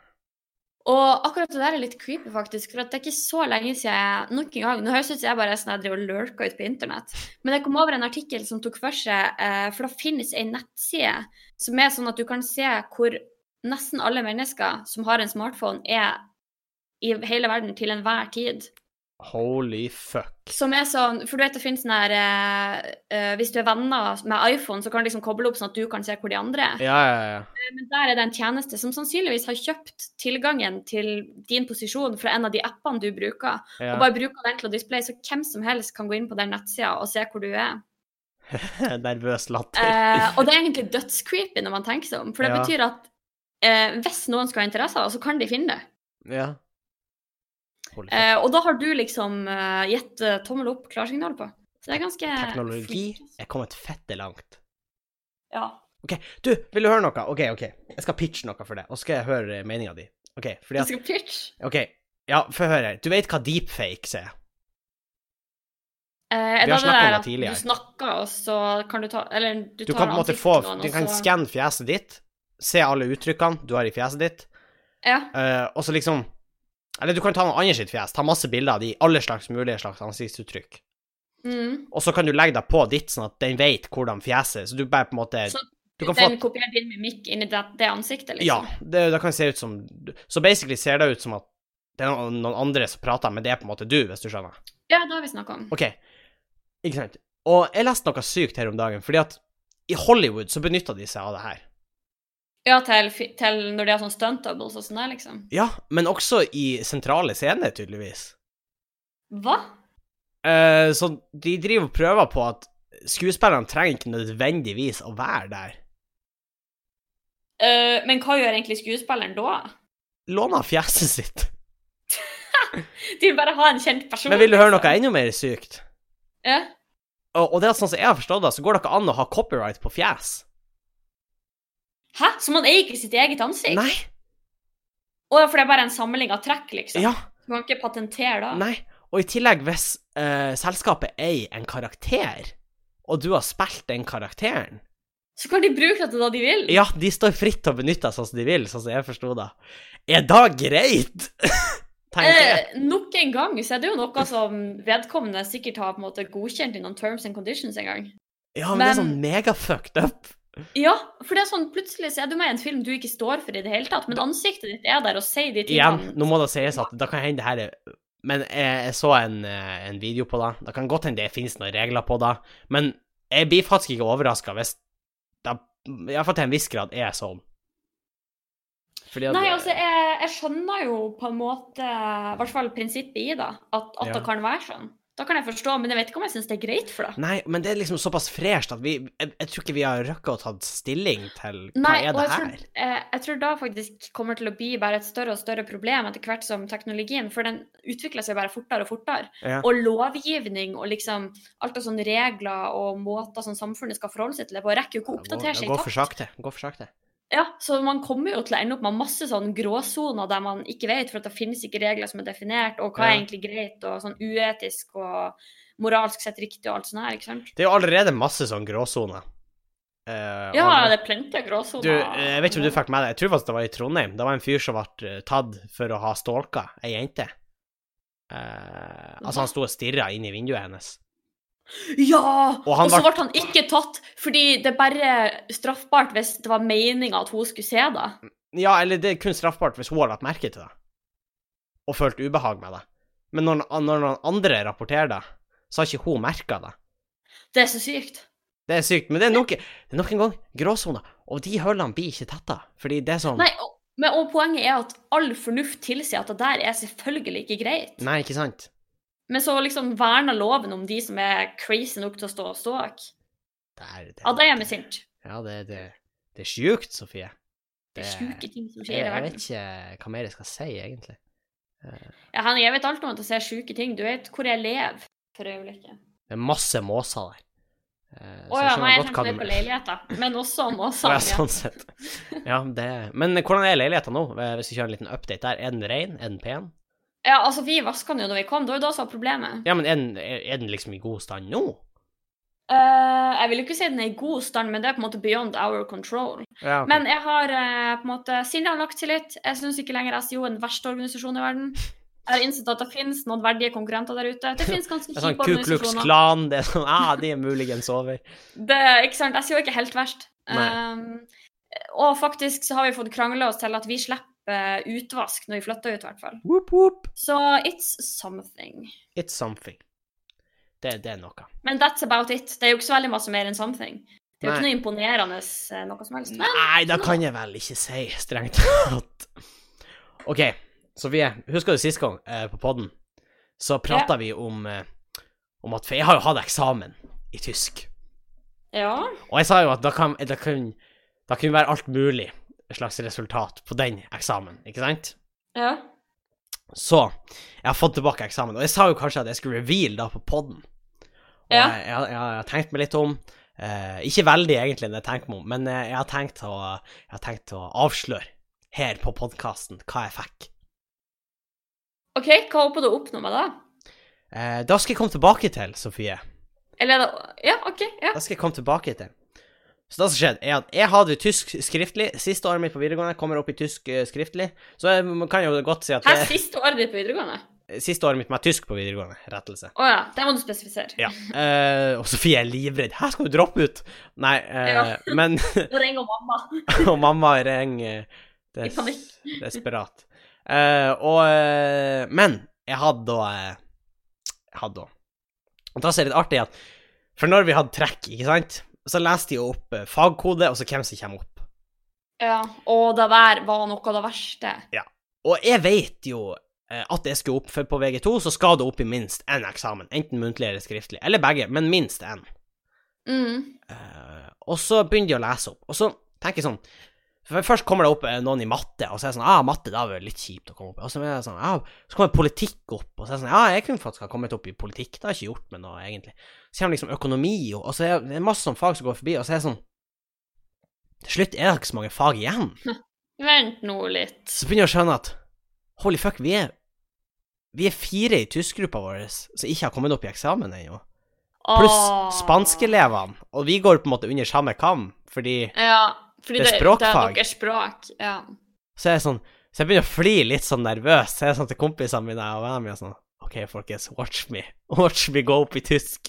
Speaker 2: Og akkurat det der er litt creepy, faktisk. For at det er ikke så lenge siden jeg Nok en gang, nå høres det ut som jeg bare er sånn jeg driver og lurker ut på internett. Men jeg kom over en artikkel som tok for seg eh, For da finnes ei nettside som er sånn at du kan se hvor nesten alle mennesker som har en smartphone, er i hele verden til enhver tid.
Speaker 1: Holy fuck.
Speaker 2: Som er sånn For du vet det finnes sånn her eh, eh, Hvis du er venner med iPhone, så kan du liksom koble opp sånn at du kan se hvor de andre er.
Speaker 1: Ja, ja, ja.
Speaker 2: Men der er det en tjeneste som sannsynligvis har kjøpt tilgangen til din posisjon fra en av de appene du bruker, og
Speaker 1: ja.
Speaker 2: bare bruker den til å displaye, så hvem som helst kan gå inn på den nettsida og se hvor du er.
Speaker 1: [laughs] Nervøs latter.
Speaker 2: Eh, og det er egentlig dødscreepy når man tenker seg om, for det
Speaker 1: Ja.
Speaker 2: betyr at eh, hvis noen skal ha interesse av det, så kan de finne det.
Speaker 1: Ja. Holy fuck.
Speaker 2: Eh, og da har du liksom eh, gitt eh, tommel opp klarsignal på. Så det er ganske altså.
Speaker 1: Teknologi
Speaker 2: freaky.
Speaker 1: er kommet fette langt.
Speaker 2: Ja.
Speaker 1: OK, du, vil du høre noe? OK, OK. Jeg skal pitche noe for deg, og så skal jeg høre meninga di. OK, fordi
Speaker 2: Du
Speaker 1: at
Speaker 2: skal pitch.
Speaker 1: OK, ja, få høre. Du vet hva deepfakes er?
Speaker 2: Eh, er
Speaker 1: Vi har
Speaker 2: det det
Speaker 1: snakket om
Speaker 2: der
Speaker 1: det
Speaker 2: at
Speaker 1: tidligere.
Speaker 2: Du snakker, og så kan du ta Eller du,
Speaker 1: Du
Speaker 2: tar
Speaker 1: kan på en måte
Speaker 2: ansiktet
Speaker 1: få
Speaker 2: til noen,
Speaker 1: Du
Speaker 2: og
Speaker 1: kan
Speaker 2: så-
Speaker 1: skanne fjeset ditt, se alle uttrykkene du har i fjeset ditt,
Speaker 2: Ja.
Speaker 1: eh, og så liksom Eller du kan ta noen andre sitt fjes, ta masse bilder av de, alle slags mulige slags ansiktsuttrykk,
Speaker 2: Mm.
Speaker 1: og så kan du legge deg på ditt, sånn at den vet hvordan fjeset er, så du bare på en måte
Speaker 2: Så
Speaker 1: Du kan få
Speaker 2: Den kopierer din mimikk inn i det, det ansiktet,
Speaker 1: Ja,
Speaker 2: liksom?
Speaker 1: det, det kan se ut som Så basically ser det ut som at det er noen noen andre som prater, men det er på en måte du, hvis du skjønner.
Speaker 2: Ja, det har vi snakka om.
Speaker 1: OK, ikke sant. Og jeg leste noe sykt her om dagen, fordi at i Hollywood så benytta de seg av det her.
Speaker 2: Ja, til, fi- til når de har sånn stunt doubles og sånn der, liksom.
Speaker 1: Ja, men også i sentrale scener, tydeligvis.
Speaker 2: Hva?
Speaker 1: Eh, så de driver og prøver på at skuespillerne trenger ikke nødvendigvis å være der.
Speaker 2: Eh, men hva gjør egentlig skuespilleren da? [laughs]
Speaker 1: Låner fjeset sitt.
Speaker 2: De vil bare ha en kjent person.
Speaker 1: Men vil du høre noe
Speaker 2: liksom.
Speaker 1: enda mer sykt?
Speaker 2: Ja.
Speaker 1: Og, og det er at sånn som jeg har forstått det, så går det ikke an å ha copyright på fjes.
Speaker 2: Hæ? Så man eier ikke sitt eget ansikt?
Speaker 1: Nei.
Speaker 2: Å, for det er bare en samling av trekk, liksom?
Speaker 1: Ja.
Speaker 2: Du kan ikke patentere da?
Speaker 1: Nei, og i tillegg hvis eh, selskapet eier en karakter, og du har spilt den karakteren
Speaker 2: Så kan de bruke det til det de vil?
Speaker 1: Ja, de står fritt til å benytte seg sånn som de vil, sånn som jeg forsto det. Er da greit? [laughs] Tenker jeg.
Speaker 2: Eh, nok en gang så er det jo noe som vedkommende sikkert har på en måte godkjent i noen terms and conditions en gang.
Speaker 1: Ja, men det er
Speaker 2: men-
Speaker 1: sånn megafucked up.
Speaker 2: Ja, for det er sånn, plutselig så er du med i en film du ikke står for i det hele tatt, men ansiktet ditt er der og sier de
Speaker 1: Igjen,
Speaker 2: tingene.
Speaker 1: nå må det sies at det kan hende det her er Men jeg, jeg så en, eh, en video på det. Det kan godt hende det finnes noen regler på det, men jeg blir faktisk ikke overraska hvis det iallfall til en viss grad er sånn. Fordi at-
Speaker 2: Nei, altså, jeg, jeg skjønner jo på en måte, i hvert fall prinsippet i det, at, at
Speaker 1: Ja.
Speaker 2: det kan være sånn. Da kan jeg forstå, men jeg vet ikke om jeg syns det er greit for det.
Speaker 1: Nei, men det er liksom såpass fresht at vi Jeg, jeg tror ikke vi har rukket å ta stilling til hva
Speaker 2: Nei,
Speaker 1: er
Speaker 2: og
Speaker 1: det
Speaker 2: jeg
Speaker 1: her?
Speaker 2: tror, eh, jeg tror da faktisk kommer til å bli bare et større og større problem etter hvert som teknologien, for den utvikler seg bare fortere og fortere.
Speaker 1: Ja.
Speaker 2: Og lovgivning og liksom alt av sånne regler og måter som samfunnet skal forholde seg til, det på, rekker jo ikke
Speaker 1: Det
Speaker 2: å
Speaker 1: går-
Speaker 2: oppdatere seg
Speaker 1: Det
Speaker 2: i
Speaker 1: går for
Speaker 2: takt.
Speaker 1: sakte. Det går for sakte.
Speaker 2: Ja, så man kommer jo til å ende opp med masse sånn gråsoner der man ikke vet, for at det finnes ikke regler som er definert, og hva
Speaker 1: Ja.
Speaker 2: er egentlig greit, og sånn uetisk og moralsk sett riktig og alt sånt her, ikke sant?
Speaker 1: Det er jo allerede masse sånn gråsoner. Eh,
Speaker 2: Ja,
Speaker 1: og-
Speaker 2: det er plenty av gråsoner.
Speaker 1: Du, eh, jeg vet ikke om du fikk med deg, jeg tror faktisk det var i Trondheim. Det var en fyr som ble eh, tatt for å ha stalka ei jente. Eh, altså, han sto og stirra inn i vinduet hennes.
Speaker 2: Ja!
Speaker 1: Og
Speaker 2: Og,
Speaker 1: han
Speaker 2: så
Speaker 1: ble-
Speaker 2: ble han ikke tatt, fordi det er bare straffbart hvis det var meninga at hun skulle se det.
Speaker 1: Ja, eller det er kun straffbart hvis hun har lagt merke til det, og følt ubehag med det. Men når, når noen andre rapporterer det, så har ikke hun merka det.
Speaker 2: Det er så sykt.
Speaker 1: Det er sykt, men det er nok, det er nok en gang gråsoner. Og de hullene blir ikke tetta, fordi det er sånn
Speaker 2: Nei, og, men, og poenget er at all fornuft tilsier at det der er selvfølgelig ikke greit.
Speaker 1: Nei, ikke sant?
Speaker 2: Men så liksom verner loven om de som er crazy nok til å stå og ståk.
Speaker 1: Det er det.
Speaker 2: Ja, det er meg sint.
Speaker 1: Ja, det, det, det er sjukt, Sofie.
Speaker 2: Det er sjuke ting som
Speaker 1: jeg,
Speaker 2: skjer i
Speaker 1: jeg
Speaker 2: verden.
Speaker 1: vet ikke hva mer jeg skal si, egentlig.
Speaker 2: Ja, Henning, jeg vet alt om at jeg ser sjuke ting. Du vet hvor jeg lever for øyeblikket.
Speaker 1: Det er masse måser der. Eh,
Speaker 2: Å
Speaker 1: så
Speaker 2: ja,
Speaker 1: skjønner
Speaker 2: nei, jeg
Speaker 1: godt
Speaker 2: tenkte
Speaker 1: hva
Speaker 2: mer
Speaker 1: du-
Speaker 2: på leiligheter. Men
Speaker 1: [laughs]
Speaker 2: også om oss.
Speaker 1: Å, [laughs] ja,
Speaker 2: ja.
Speaker 1: sånn sett. Ja, det Men hvordan er leiligheta nå, Eh, hvis vi kjører en liten update der? Er den rein? Er den pen?
Speaker 2: ja, altså, vi vaska den jo da vi kom. Det var jo da som var problemet.
Speaker 1: Ja, men er den, er er den liksom i god stand nå?
Speaker 2: Eh, jeg vil jo ikke si den er i god stand, men det er på en måte beyond our control.
Speaker 1: Ja, ok.
Speaker 2: Men jeg har eh, på en måte Siden jeg har lagt tillit, jeg syns ikke lenger SIO er den verste organisasjonen i verden. Jeg har innsett at det finnes noen verdige konkurrenter der ute.
Speaker 1: [laughs]
Speaker 2: Det finnes ganske
Speaker 1: det er sånn Ku
Speaker 2: kjipe
Speaker 1: Klux
Speaker 2: organisasjoner.
Speaker 1: Klan, det er sånn ah, de er muligens over.
Speaker 2: Det, ikke sant? SIO er ikke helt verst.
Speaker 1: Nei.
Speaker 2: Um, og faktisk så har vi fått krangla oss til at vi slipper eh, utvask når vi flytter ut, i hvert fall.
Speaker 1: Whoop, whoop.
Speaker 2: Så it's something.
Speaker 1: It's something. Det, det er noe.
Speaker 2: Men that's about it. Det er jo ikke så veldig masse mer enn something. Det er jo
Speaker 1: Nei.
Speaker 2: ikke
Speaker 1: Mm.
Speaker 2: noe imponerende eh, noe som helst. Men
Speaker 1: Nei, det kan jeg vel ikke si, strengt [laughs] tatt. OK, Sofie. Husker du sist gang eh, på podden? Så prata vi om, eh, om at For jeg har jo hatt eksamen i tysk.
Speaker 2: ja.
Speaker 1: Og jeg sa jo at da kan, da kan, da kunne være alt mulig slags resultat på den eksamen, ikke sant?
Speaker 2: ja.
Speaker 1: Så jeg har fått tilbake eksamen, og jeg sa jo kanskje at jeg skulle reveal da på podden. Og
Speaker 2: Ja.
Speaker 1: jeg, jeg, jeg har tenkt meg litt om. Eh, ikke veldig egentlig, det jeg tenker meg om, men eh, jeg har tenkt å, jeg har tenkt å avsløre her på podkasten hva jeg fikk.
Speaker 2: OK, hva håper du å oppnå med det?
Speaker 1: Eh, da skal jeg komme tilbake til, Sofie.
Speaker 2: Eller er det Ja, OK. Ja.
Speaker 1: Da skal jeg komme tilbake til. Så det som skjedde, er at jeg hadde tysk skriftlig. Siste året mitt på videregående kommer opp i tysk eh, skriftlig. Så jeg man kan jo godt si at
Speaker 2: Her
Speaker 1: det,
Speaker 2: siste året ditt på videregående?
Speaker 1: siste året mitt med tysk på videregående. Rettelse.
Speaker 2: Å ja, det må
Speaker 1: [laughs]
Speaker 2: du spesifisere.
Speaker 1: Ja. eh, og Sofie er livredd. Her skal du droppe ut! Nei, eh,
Speaker 2: Ja.
Speaker 1: [laughs] men
Speaker 2: Nå ringer mamma.
Speaker 1: Og mamma ringer eh,
Speaker 2: I
Speaker 1: des,
Speaker 2: panikk. [laughs]
Speaker 1: desperat. Eh, og eh, Men jeg hadde da eh, Jeg hadde da Og da er det litt artig at For når vi hadde trekk, ikke sant, så leste de jo opp eh, fagkode, og så hvem som kommer opp.
Speaker 2: Ja. Og det der var noe av det verste.
Speaker 1: Og jeg vet jo eh, at jeg skulle opp, for på VG2 så skal det opp i minst én eksamen. Enten muntlig eller skriftlig. Eller begge, men minst én.
Speaker 2: Mm.
Speaker 1: Eh, og så begynner de å lese opp, og så tenker jeg sånn for Først kommer det opp eh, noen i matte, og så er jeg sånn ah, matte, da er det litt kjipt å komme opp i. Og så, er jeg sånn, ah, så kommer politikk opp, og så er jeg sånn Ja, jeg kunne faktisk ha kommet opp i politikk, det har jeg ikke gjort meg noe, egentlig. Så kommer liksom økonomi, og, og så er det masse sånn fag som går forbi, og så er jeg sånn Til slutt er det ikke så mange fag igjen.
Speaker 2: Vent nå litt.
Speaker 1: Så begynner jeg å skjønne at holy fuck, vi er vi er fire i tyskgruppa vår som ikke har kommet opp i eksamen ennå.
Speaker 2: Åh.
Speaker 1: Pluss spanskelevene, og vi går på en måte under samme kam, fordi
Speaker 2: Ja, fordi
Speaker 1: Det
Speaker 2: det,
Speaker 1: er
Speaker 2: det,
Speaker 1: språkfag.
Speaker 2: er deres språk. Ja.
Speaker 1: Så er jeg sånn Så jeg begynner å fly litt sånn nervøs. Så er jeg sånn til kompisene mine og vennene mine sånn OK, folkens, watch me. [laughs] Watch me go opp i tysk.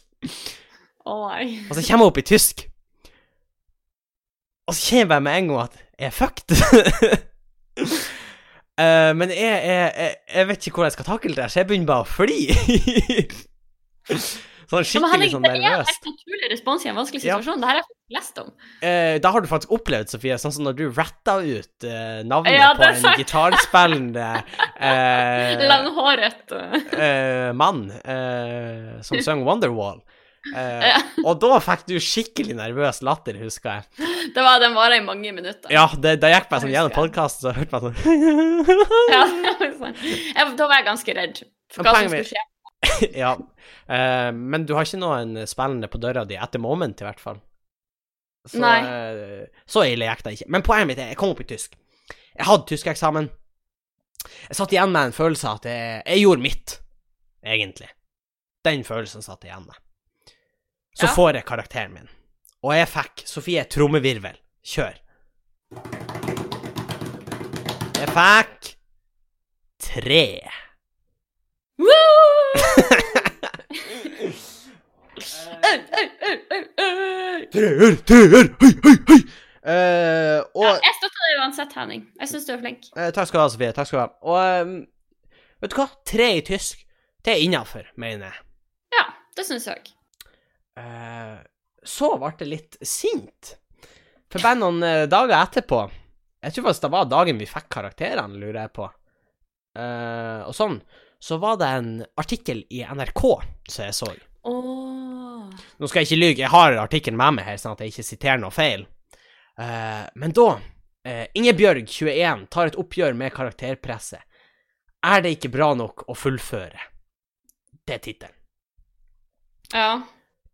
Speaker 2: Å nei.
Speaker 1: Og så kommer jeg opp i tysk. Og så kjenner jeg bare med en gang at jeg er fucked. [laughs] Eh, men jeg, jeg, jeg, jeg vet ikke hvordan jeg skal takle det, her, så jeg begynner bare å fly. [laughs] sånn
Speaker 2: Ja, men
Speaker 1: skikkelig
Speaker 2: Henrik,
Speaker 1: sånn
Speaker 2: det er en
Speaker 1: nervøst.
Speaker 2: helt naturlig respons i en vanskelig
Speaker 1: Ja.
Speaker 2: situasjon. Det her har jeg faktisk lest om.
Speaker 1: Eh, da har du faktisk opplevd, Sofie, sånn som når du ratta ut eh, navnet
Speaker 2: Ja,
Speaker 1: på
Speaker 2: det er
Speaker 1: en
Speaker 2: sant. [laughs]
Speaker 1: gitarspillende eh,
Speaker 2: Langhåret.
Speaker 1: eh, mann eh,
Speaker 2: [laughs]
Speaker 1: som sang Wonderwall. Eh,
Speaker 2: Ja.
Speaker 1: og da fikk du skikkelig nervøs latter, husker jeg.
Speaker 2: Det var den varer i mange minutter.
Speaker 1: Ja, det, det gikk meg sånn
Speaker 2: Jeg husker
Speaker 1: gjennom podkasten, så hørte man sånn [laughs]
Speaker 2: Ja, [laughs] det var sånn. jeg, da var jeg ganske redd for
Speaker 1: Men
Speaker 2: hva som
Speaker 1: poenget
Speaker 2: skulle skje.
Speaker 1: [laughs] Ja. Eh, men du har ikke noen spillende på døra di etter moment, i hvert fall. Så,
Speaker 2: Nei.
Speaker 1: eh, så ille gikk det ikke. Men poenget mitt er, jeg kom opp i tysk. Jeg hadde tyskeksamen. Jeg satt igjen med en følelse av at jeg, jeg gjorde mitt, egentlig. Den følelsen satt jeg igjen med. Så
Speaker 2: Ja.
Speaker 1: får jeg karakteren min, og jeg fikk Sofie trommevirvel. Kjør. Jeg fikk tre. [laughs]
Speaker 2: Woo! Au, au, au, au, au.
Speaker 1: Treer, treer, høy, høy, høy! Eh, og
Speaker 2: Ja, jeg støtter deg uansett, Henning. Jeg syns du er flink.
Speaker 1: eh, Takk skal du ha, Sofie. Takk skal du ha. Og ehm, vet du hva? Tre i tysk, det er innafor, mener jeg.
Speaker 2: Ja, det syns jeg òg.
Speaker 1: Eh, så ble jeg litt sint. For bare noen eh, dager etterpå Jeg tror faktisk det var dagen vi fikk karakterene, lurer jeg på. Eh, og sånn. Så var det en artikkel i NRK som jeg så.
Speaker 2: Åh.
Speaker 1: Nå skal jeg ikke lyge, jeg har artikkelen med meg her, sånn at jeg ikke siterer noe feil. Eh, men da eh, Ingebjørg, 21, tar et oppgjør med karakterpresset. Er det ikke bra nok å fullføre? Det er tittelen.
Speaker 2: Ja.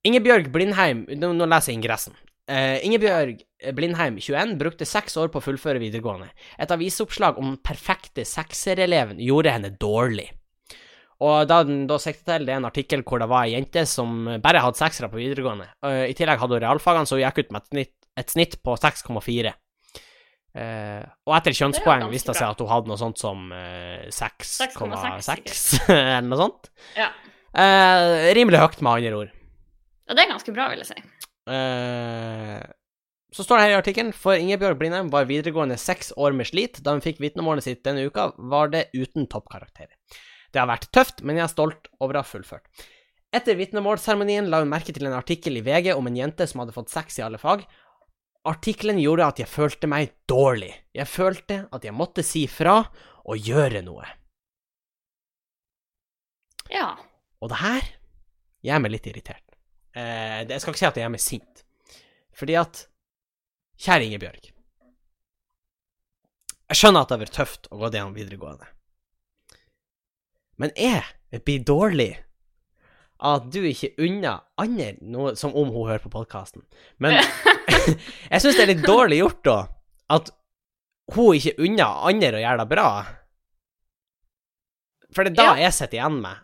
Speaker 1: Ingebjørg Blindheim Nå, nå leser jeg ingressen. Eh, Ingebjørg Blindheim, 21, brukte seks år på å fullføre videregående. Et avisoppslag om den perfekte seksereleven gjorde henne dårlig. Og da den da sikta til, det er en artikkel hvor det var ei jente som bare hadde seksere på videregående. Eh, I tillegg hadde hun realfagene, så hun gikk ut med et snitt, et snitt på 6,4. Eh, og etter kjønnspoeng
Speaker 2: ganske
Speaker 1: viste det seg at hun hadde noe sånt som eh, 6,6,
Speaker 2: 6,6,
Speaker 1: [laughs] eller noe sånt.
Speaker 2: Ja.
Speaker 1: Eh, rimelig høyt, med andre ord.
Speaker 2: Og det er ganske bra, vil jeg si.
Speaker 1: Eh, så står det her i artikkelen For Ingebjørg Blindheim var videregående seks år med slit. Da hun fikk vitnemålet sitt denne uka, var det uten toppkarakterer. Det har vært tøft, men jeg er stolt over å ha fullført. Etter vitnemålsseremonien la hun merke til en artikkel i VG om en jente som hadde fått sex i alle fag. Artikkelen gjorde at jeg følte meg dårlig. Jeg følte at jeg måtte si fra og gjøre noe.
Speaker 2: Ja.
Speaker 1: Og det her gjør meg litt irritert. Eh, det- jeg skal ikke si at det gjør meg sint. Fordi at Kjære Ingebjørg. Jeg skjønner at det har vært tøft å gå det gjennom videregående. Men jeg blir dårlig av at du ikke unner andre noe som om hun hører på podkasten. Men [laughs] jeg syns det er litt dårlig gjort, da, at hun ikke unner andre å gjøre det bra. For det er da jeg sitter igjen med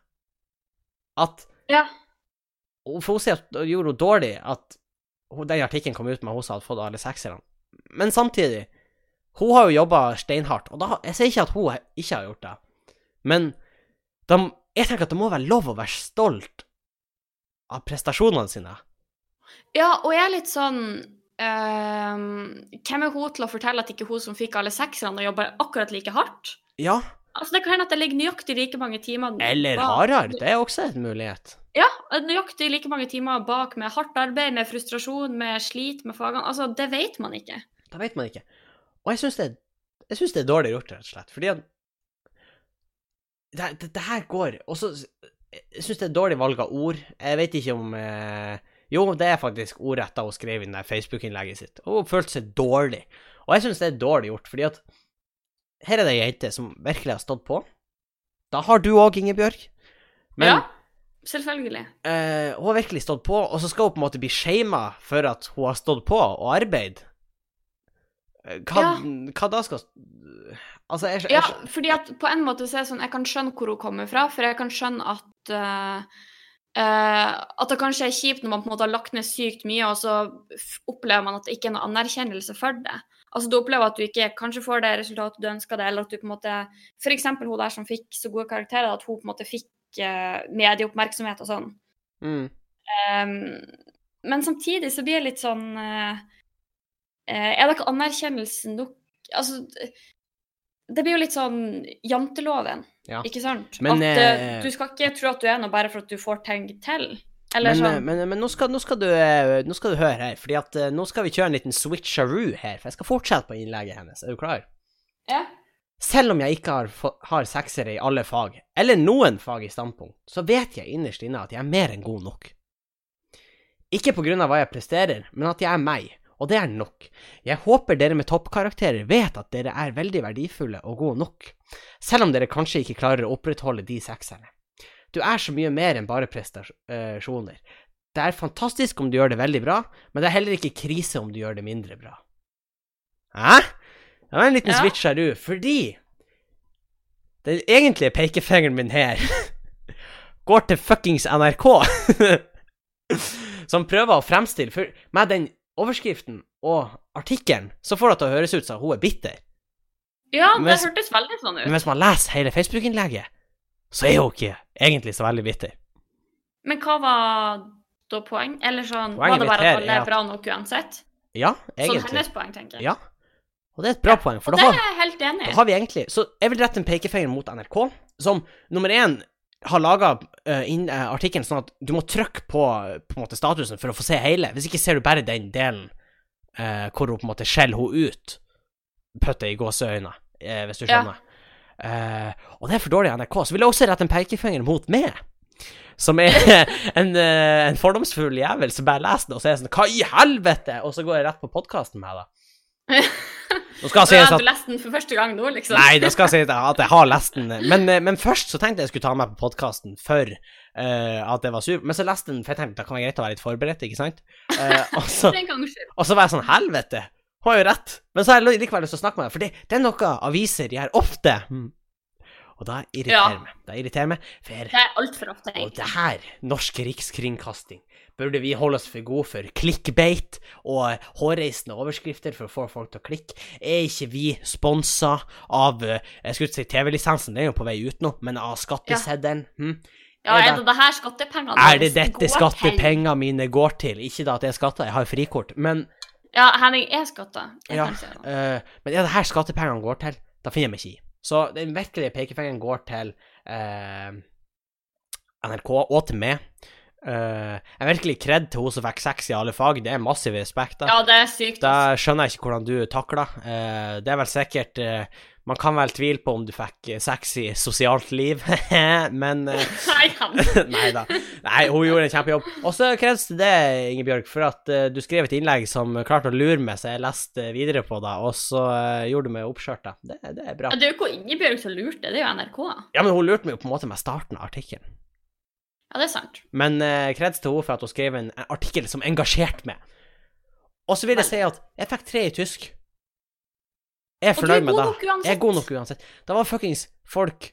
Speaker 1: at
Speaker 2: Ja.
Speaker 1: Og For hun sier at det gjorde hun dårlig at hun, den artikkelen kom ut med hun som hadde fått alle sekserne. Men samtidig, hun har jo jobba steinhardt, og da, jeg sier ikke at hun he- ikke har gjort det, men da m- jeg tenker at det må være lov å være stolt av prestasjonene sine.
Speaker 2: ja, og jeg er litt sånn ehm, Hvem er hun til å fortelle at ikke hun som fikk alle sekserne, jobber akkurat like hardt?
Speaker 1: Ja,
Speaker 2: Altså, Det kan hende at det ligger nøyaktig like mange timer
Speaker 1: eller
Speaker 2: bak-
Speaker 1: hardere. Det er også en mulighet.
Speaker 2: Ja, nøyaktig like mange timer bak med hardt arbeid, med frustrasjon, med slit med fagene. Altså, det vet man ikke.
Speaker 1: Da vet man ikke. Og jeg syns det, jeg synes det er dårlig gjort, rett og slett, fordi at Det, det, det her går Og så Jeg syns det er dårlig valg av ord. Jeg vet ikke om eh, Jo, det er faktisk ordrett da hun skrev i det der Facebook-innlegget sitt. Og hun følte seg dårlig. Og jeg syns det er dårlig gjort, fordi at her er det ei jente som virkelig har stått på. Da har du òg, Ingebjørg. Men
Speaker 2: Ja. Selvfølgelig.
Speaker 1: eh, hun har virkelig stått på, og så skal hun på en måte bli shama for at hun har stått på og arbeid. Eh, Hva,
Speaker 2: Ja.
Speaker 1: hva da skal Altså, jeg, jeg,
Speaker 2: Ja, fordi at på en måte så er det sånn, jeg kan skjønne hvor hun kommer fra, for jeg kan skjønne at eh, eh, At det kanskje er kjipt når man på en måte har lagt ned sykt mye, og så f- opplever man at det ikke er noe anerkjennelse for det. Altså Du opplever at du ikke kanskje får det resultatet du ønsker deg, eller at du på en måte F.eks. hun der som fikk så gode karakterer, at hun på en måte fikk eh, medieoppmerksomhet og sånn.
Speaker 1: mm,
Speaker 2: Ehm, men samtidig så blir jeg litt sånn eh, eh, Er det ikke anerkjennelse nok Altså d- Det blir jo litt sånn janteloven,
Speaker 1: Ja.
Speaker 2: ikke sant?
Speaker 1: Men,
Speaker 2: at eh,
Speaker 1: eh,
Speaker 2: du skal ikke tro at du er noe bare for at du får ting til. Eller
Speaker 1: men, eh,
Speaker 2: sånn.
Speaker 1: men, men nå, skal, nå, skal du, eh, nå skal du høre her, Fordi at eh, nå skal vi kjøre en liten switcheroo her, for jeg skal fortsette på innlegget hennes. Er du klar?
Speaker 2: ja.
Speaker 1: Selv om jeg ikke har, få- har seksere i alle fag, eller noen fag i standpunkt, så vet jeg innerst inne at jeg er mer enn god nok. Ikke på grunn av hva jeg presterer, men at jeg er meg, og det er nok. Jeg håper dere med toppkarakterer vet at dere er veldig verdifulle og gode nok, selv om dere kanskje ikke klarer å opprettholde de sekserne. Du er så mye mer enn bare prestasjoner. Det er fantastisk om du gjør det veldig bra, men det er heller ikke krise om du gjør det mindre bra. Hæ? Det var en liten
Speaker 2: Ja.
Speaker 1: switch her, du, fordi den egentlige pekefingeren min her [laughs] går til fuckings NRK, [laughs] som prøver å fremstille For med den overskriften og artikkelen, så får det til å høres ut som hun er bitter.
Speaker 2: ja, det
Speaker 1: hvis-
Speaker 2: hørtes veldig sånn
Speaker 1: Men
Speaker 2: ut.
Speaker 1: hvis man leser hele Facebook-innlegget, så er hun ikke egentlig så veldig bitter.
Speaker 2: Men hva var da poeng? Eller sånn
Speaker 1: Poenget
Speaker 2: Var
Speaker 1: mitt
Speaker 2: det bare
Speaker 1: her
Speaker 2: at alle
Speaker 1: er
Speaker 2: er bra nok uansett?
Speaker 1: Ja,
Speaker 2: Sånn
Speaker 1: egentlig.
Speaker 2: hennes poeng, tenker jeg.
Speaker 1: Ja. Og det er et bra poeng, for
Speaker 2: Og
Speaker 1: da har,
Speaker 2: det er jeg helt enig
Speaker 1: da
Speaker 2: i.
Speaker 1: har vi egentlig Så jeg vil rette en pekefinger mot NRK, som nummer én har laga artikkelen sånn at du må trykke på, på en måte statusen for å få se hele. Hvis ikke ser du bare den delen eh, hvor hun på en måte skjeller hun ut. Putte i gåseøyne, eh, hvis du
Speaker 2: Ja.
Speaker 1: skjønner. Eh, og det er for dårlig av NRK. Så vil jeg også rette en pekefinger mot meg. Som er [laughs] en, eh, en fordomsfull jævel som bare leser det, og så er jeg sånn Hva i helvete?! Og så går jeg rett på podkasten med det.
Speaker 2: [laughs]
Speaker 1: Nå skal
Speaker 2: Og
Speaker 1: jeg
Speaker 2: ja,
Speaker 1: si at
Speaker 2: du leste den for første gang nå, liksom.
Speaker 1: Nei, det skal jeg si at jeg- at jeg har lest den. Men, eh, men først så tenkte jeg jeg skulle ta den med på podkasten for eh, at det var sur. Men så leste jeg den, for jeg tenkte det kan være greit å være litt forberedt, ikke sant? Eh, og, så,
Speaker 2: Den gangen skyld.
Speaker 1: og så var jeg sånn Helvete! Hun har jo rett. Men så har jeg likevel lyst til å snakke med deg, for det, det er noe aviser gjør ofte. Og det
Speaker 2: Ja.
Speaker 1: irriterer meg. Det irriterer meg, for
Speaker 2: Det er altfor ofte,
Speaker 1: og det
Speaker 2: egentlig.
Speaker 1: her, norsk rikskringkasting, burde vi holde oss for gode for clickbait og eh, hårreisende overskrifter for å få folk til å klikke. Er ikke vi sponsa av eh, Jeg skulle ikke si TV-lisensen, den er jo på vei ut nå, men av skatteseddelen? Hm?
Speaker 2: Ja,
Speaker 1: er
Speaker 2: er
Speaker 1: det-
Speaker 2: det det her skattepengene
Speaker 1: Er det
Speaker 2: deres
Speaker 1: dette
Speaker 2: går til?
Speaker 1: skattepengene mine går til? Ikke da at jeg skatter, jeg har jo frikort, men,
Speaker 2: Ja, Henning er skatta. Jeg
Speaker 1: Ja.
Speaker 2: kan si det.
Speaker 1: eh, men er det her skattepengene går til? Da finner jeg meg ikke i. Så den virkelige pekefingeren går til eh, NRK og til meg. Eh, en virkelig kred til hun som fikk seks i alle fag, det er massiv respekt. da.
Speaker 2: Ja, det er sykt.
Speaker 1: Da
Speaker 2: altså.
Speaker 1: skjønner jeg ikke hvordan du takler. Eh, det er vel sikkert eh, Man kan vel tvile på om du fikk eh, sex i sosialt liv, [laughs] men eh,
Speaker 2: altså. [laughs] Nei, Henning.
Speaker 1: [laughs] Nei da. Nei, hun gjorde en kjempejobb. Og så kreves det det, Ingebjørg, for at eh, du skrev et innlegg som klarte å lure meg, så jeg leste videre på det, og så eh, gjorde du meg oppskjørt. da. Det, det er bra.
Speaker 2: Ja, Det er jo ikke Ingebjørg som lurte, det er jo NRK.
Speaker 1: Ja, men hun lurte meg jo på en måte med starten av artikkelen.
Speaker 2: Ja, det er sant.
Speaker 1: Men eh, kreds til henne for at hun skrev en, en artikkel som engasjerte meg. Og så vil jeg si at jeg fikk tre i tysk. Jeg er
Speaker 2: Og du er
Speaker 1: fornøyd med
Speaker 2: god
Speaker 1: det.
Speaker 2: nok uansett.
Speaker 1: Jeg er god nok uansett. Det var fuckings folk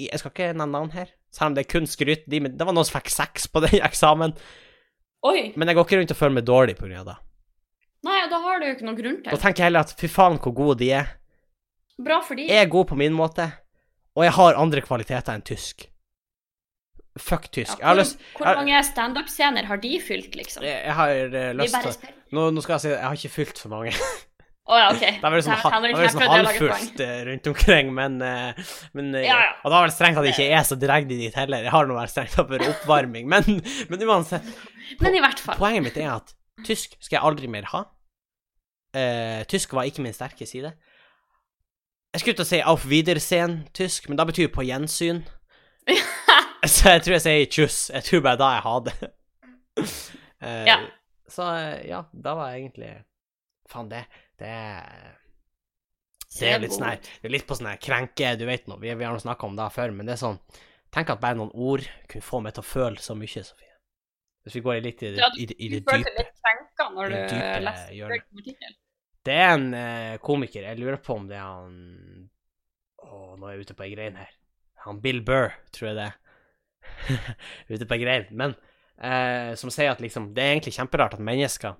Speaker 1: i, Jeg skal ikke nevne navn her, selv om det er kun skryt. De, men det var noen som fikk seks på den eksamen.
Speaker 2: Oi.
Speaker 1: Men jeg går ikke rundt og føler meg dårlig på grunn av det.
Speaker 2: Nei, og da har du jo ikke noen grunn
Speaker 1: Da
Speaker 2: til.
Speaker 1: tenker jeg heller at fy faen hvor gode de er.
Speaker 2: Bra for de.
Speaker 1: Jeg er god på min måte, og jeg har andre kvaliteter enn tysk. Fuck
Speaker 2: Ja,
Speaker 1: tysk. Jeg har
Speaker 2: hvor,
Speaker 1: lyst
Speaker 2: hvor
Speaker 1: jeg-
Speaker 2: mange standup-scener har de fylt, liksom?
Speaker 1: Jeg jeg har eh,
Speaker 2: Vi
Speaker 1: lyst
Speaker 2: bare
Speaker 1: til
Speaker 2: spør.
Speaker 1: nå, nå skal jeg si jeg har ikke fylt så mange. [laughs]
Speaker 2: Å ja, OK.
Speaker 1: Det er vel sånn, ha- det
Speaker 2: Henrik,
Speaker 1: er vel
Speaker 2: jeg
Speaker 1: sånn
Speaker 2: prøvde å lage poeng.
Speaker 1: halvfullt eh, rundt omkring, men, eh, men eh,
Speaker 2: Ja, ja.
Speaker 1: Og det var vel strengt at jeg ikke er så direkte dit heller. Jeg har nå vært strengt tatt for oppvarming, [laughs] men, men uansett.
Speaker 2: Men i hvert fall.
Speaker 1: Poenget mitt er at tysk skal jeg aldri mer ha. Eh, tysk var ikke min sterke side. Jeg skulle til å si auf Wiedersehen tysk, men det betyr på
Speaker 2: [laughs]
Speaker 1: gjensyn. så jeg tror jeg sier tjus. Jeg tror bare da jeg har det. Eh,
Speaker 2: Ja.
Speaker 1: Så eh, ja, da var jeg egentlig Faen, det Det er, det er litt sånn her Det er litt på sånn her krenke, du vet nå. Vi, vi har nå snakka om det før, men det er sånn Tenk at bare noen ord kunne få meg til å føle så mye, Sofie. Hvis vi går litt i det,
Speaker 2: Ja,
Speaker 1: i, det- i
Speaker 2: Du
Speaker 1: det dype.
Speaker 2: følte deg litt krenka når du
Speaker 1: eh, Det dype
Speaker 2: leste
Speaker 1: hjørnet.
Speaker 2: Bjørg Martinkel.
Speaker 1: Det er en eh, komiker. Jeg lurer på om det er han Å, nå er jeg ute på ei grein her. Han Bill Burr, tror jeg det er. [laughs] ute på ei grein. Men eh, som sier at liksom Det er egentlig kjemperart at mennesker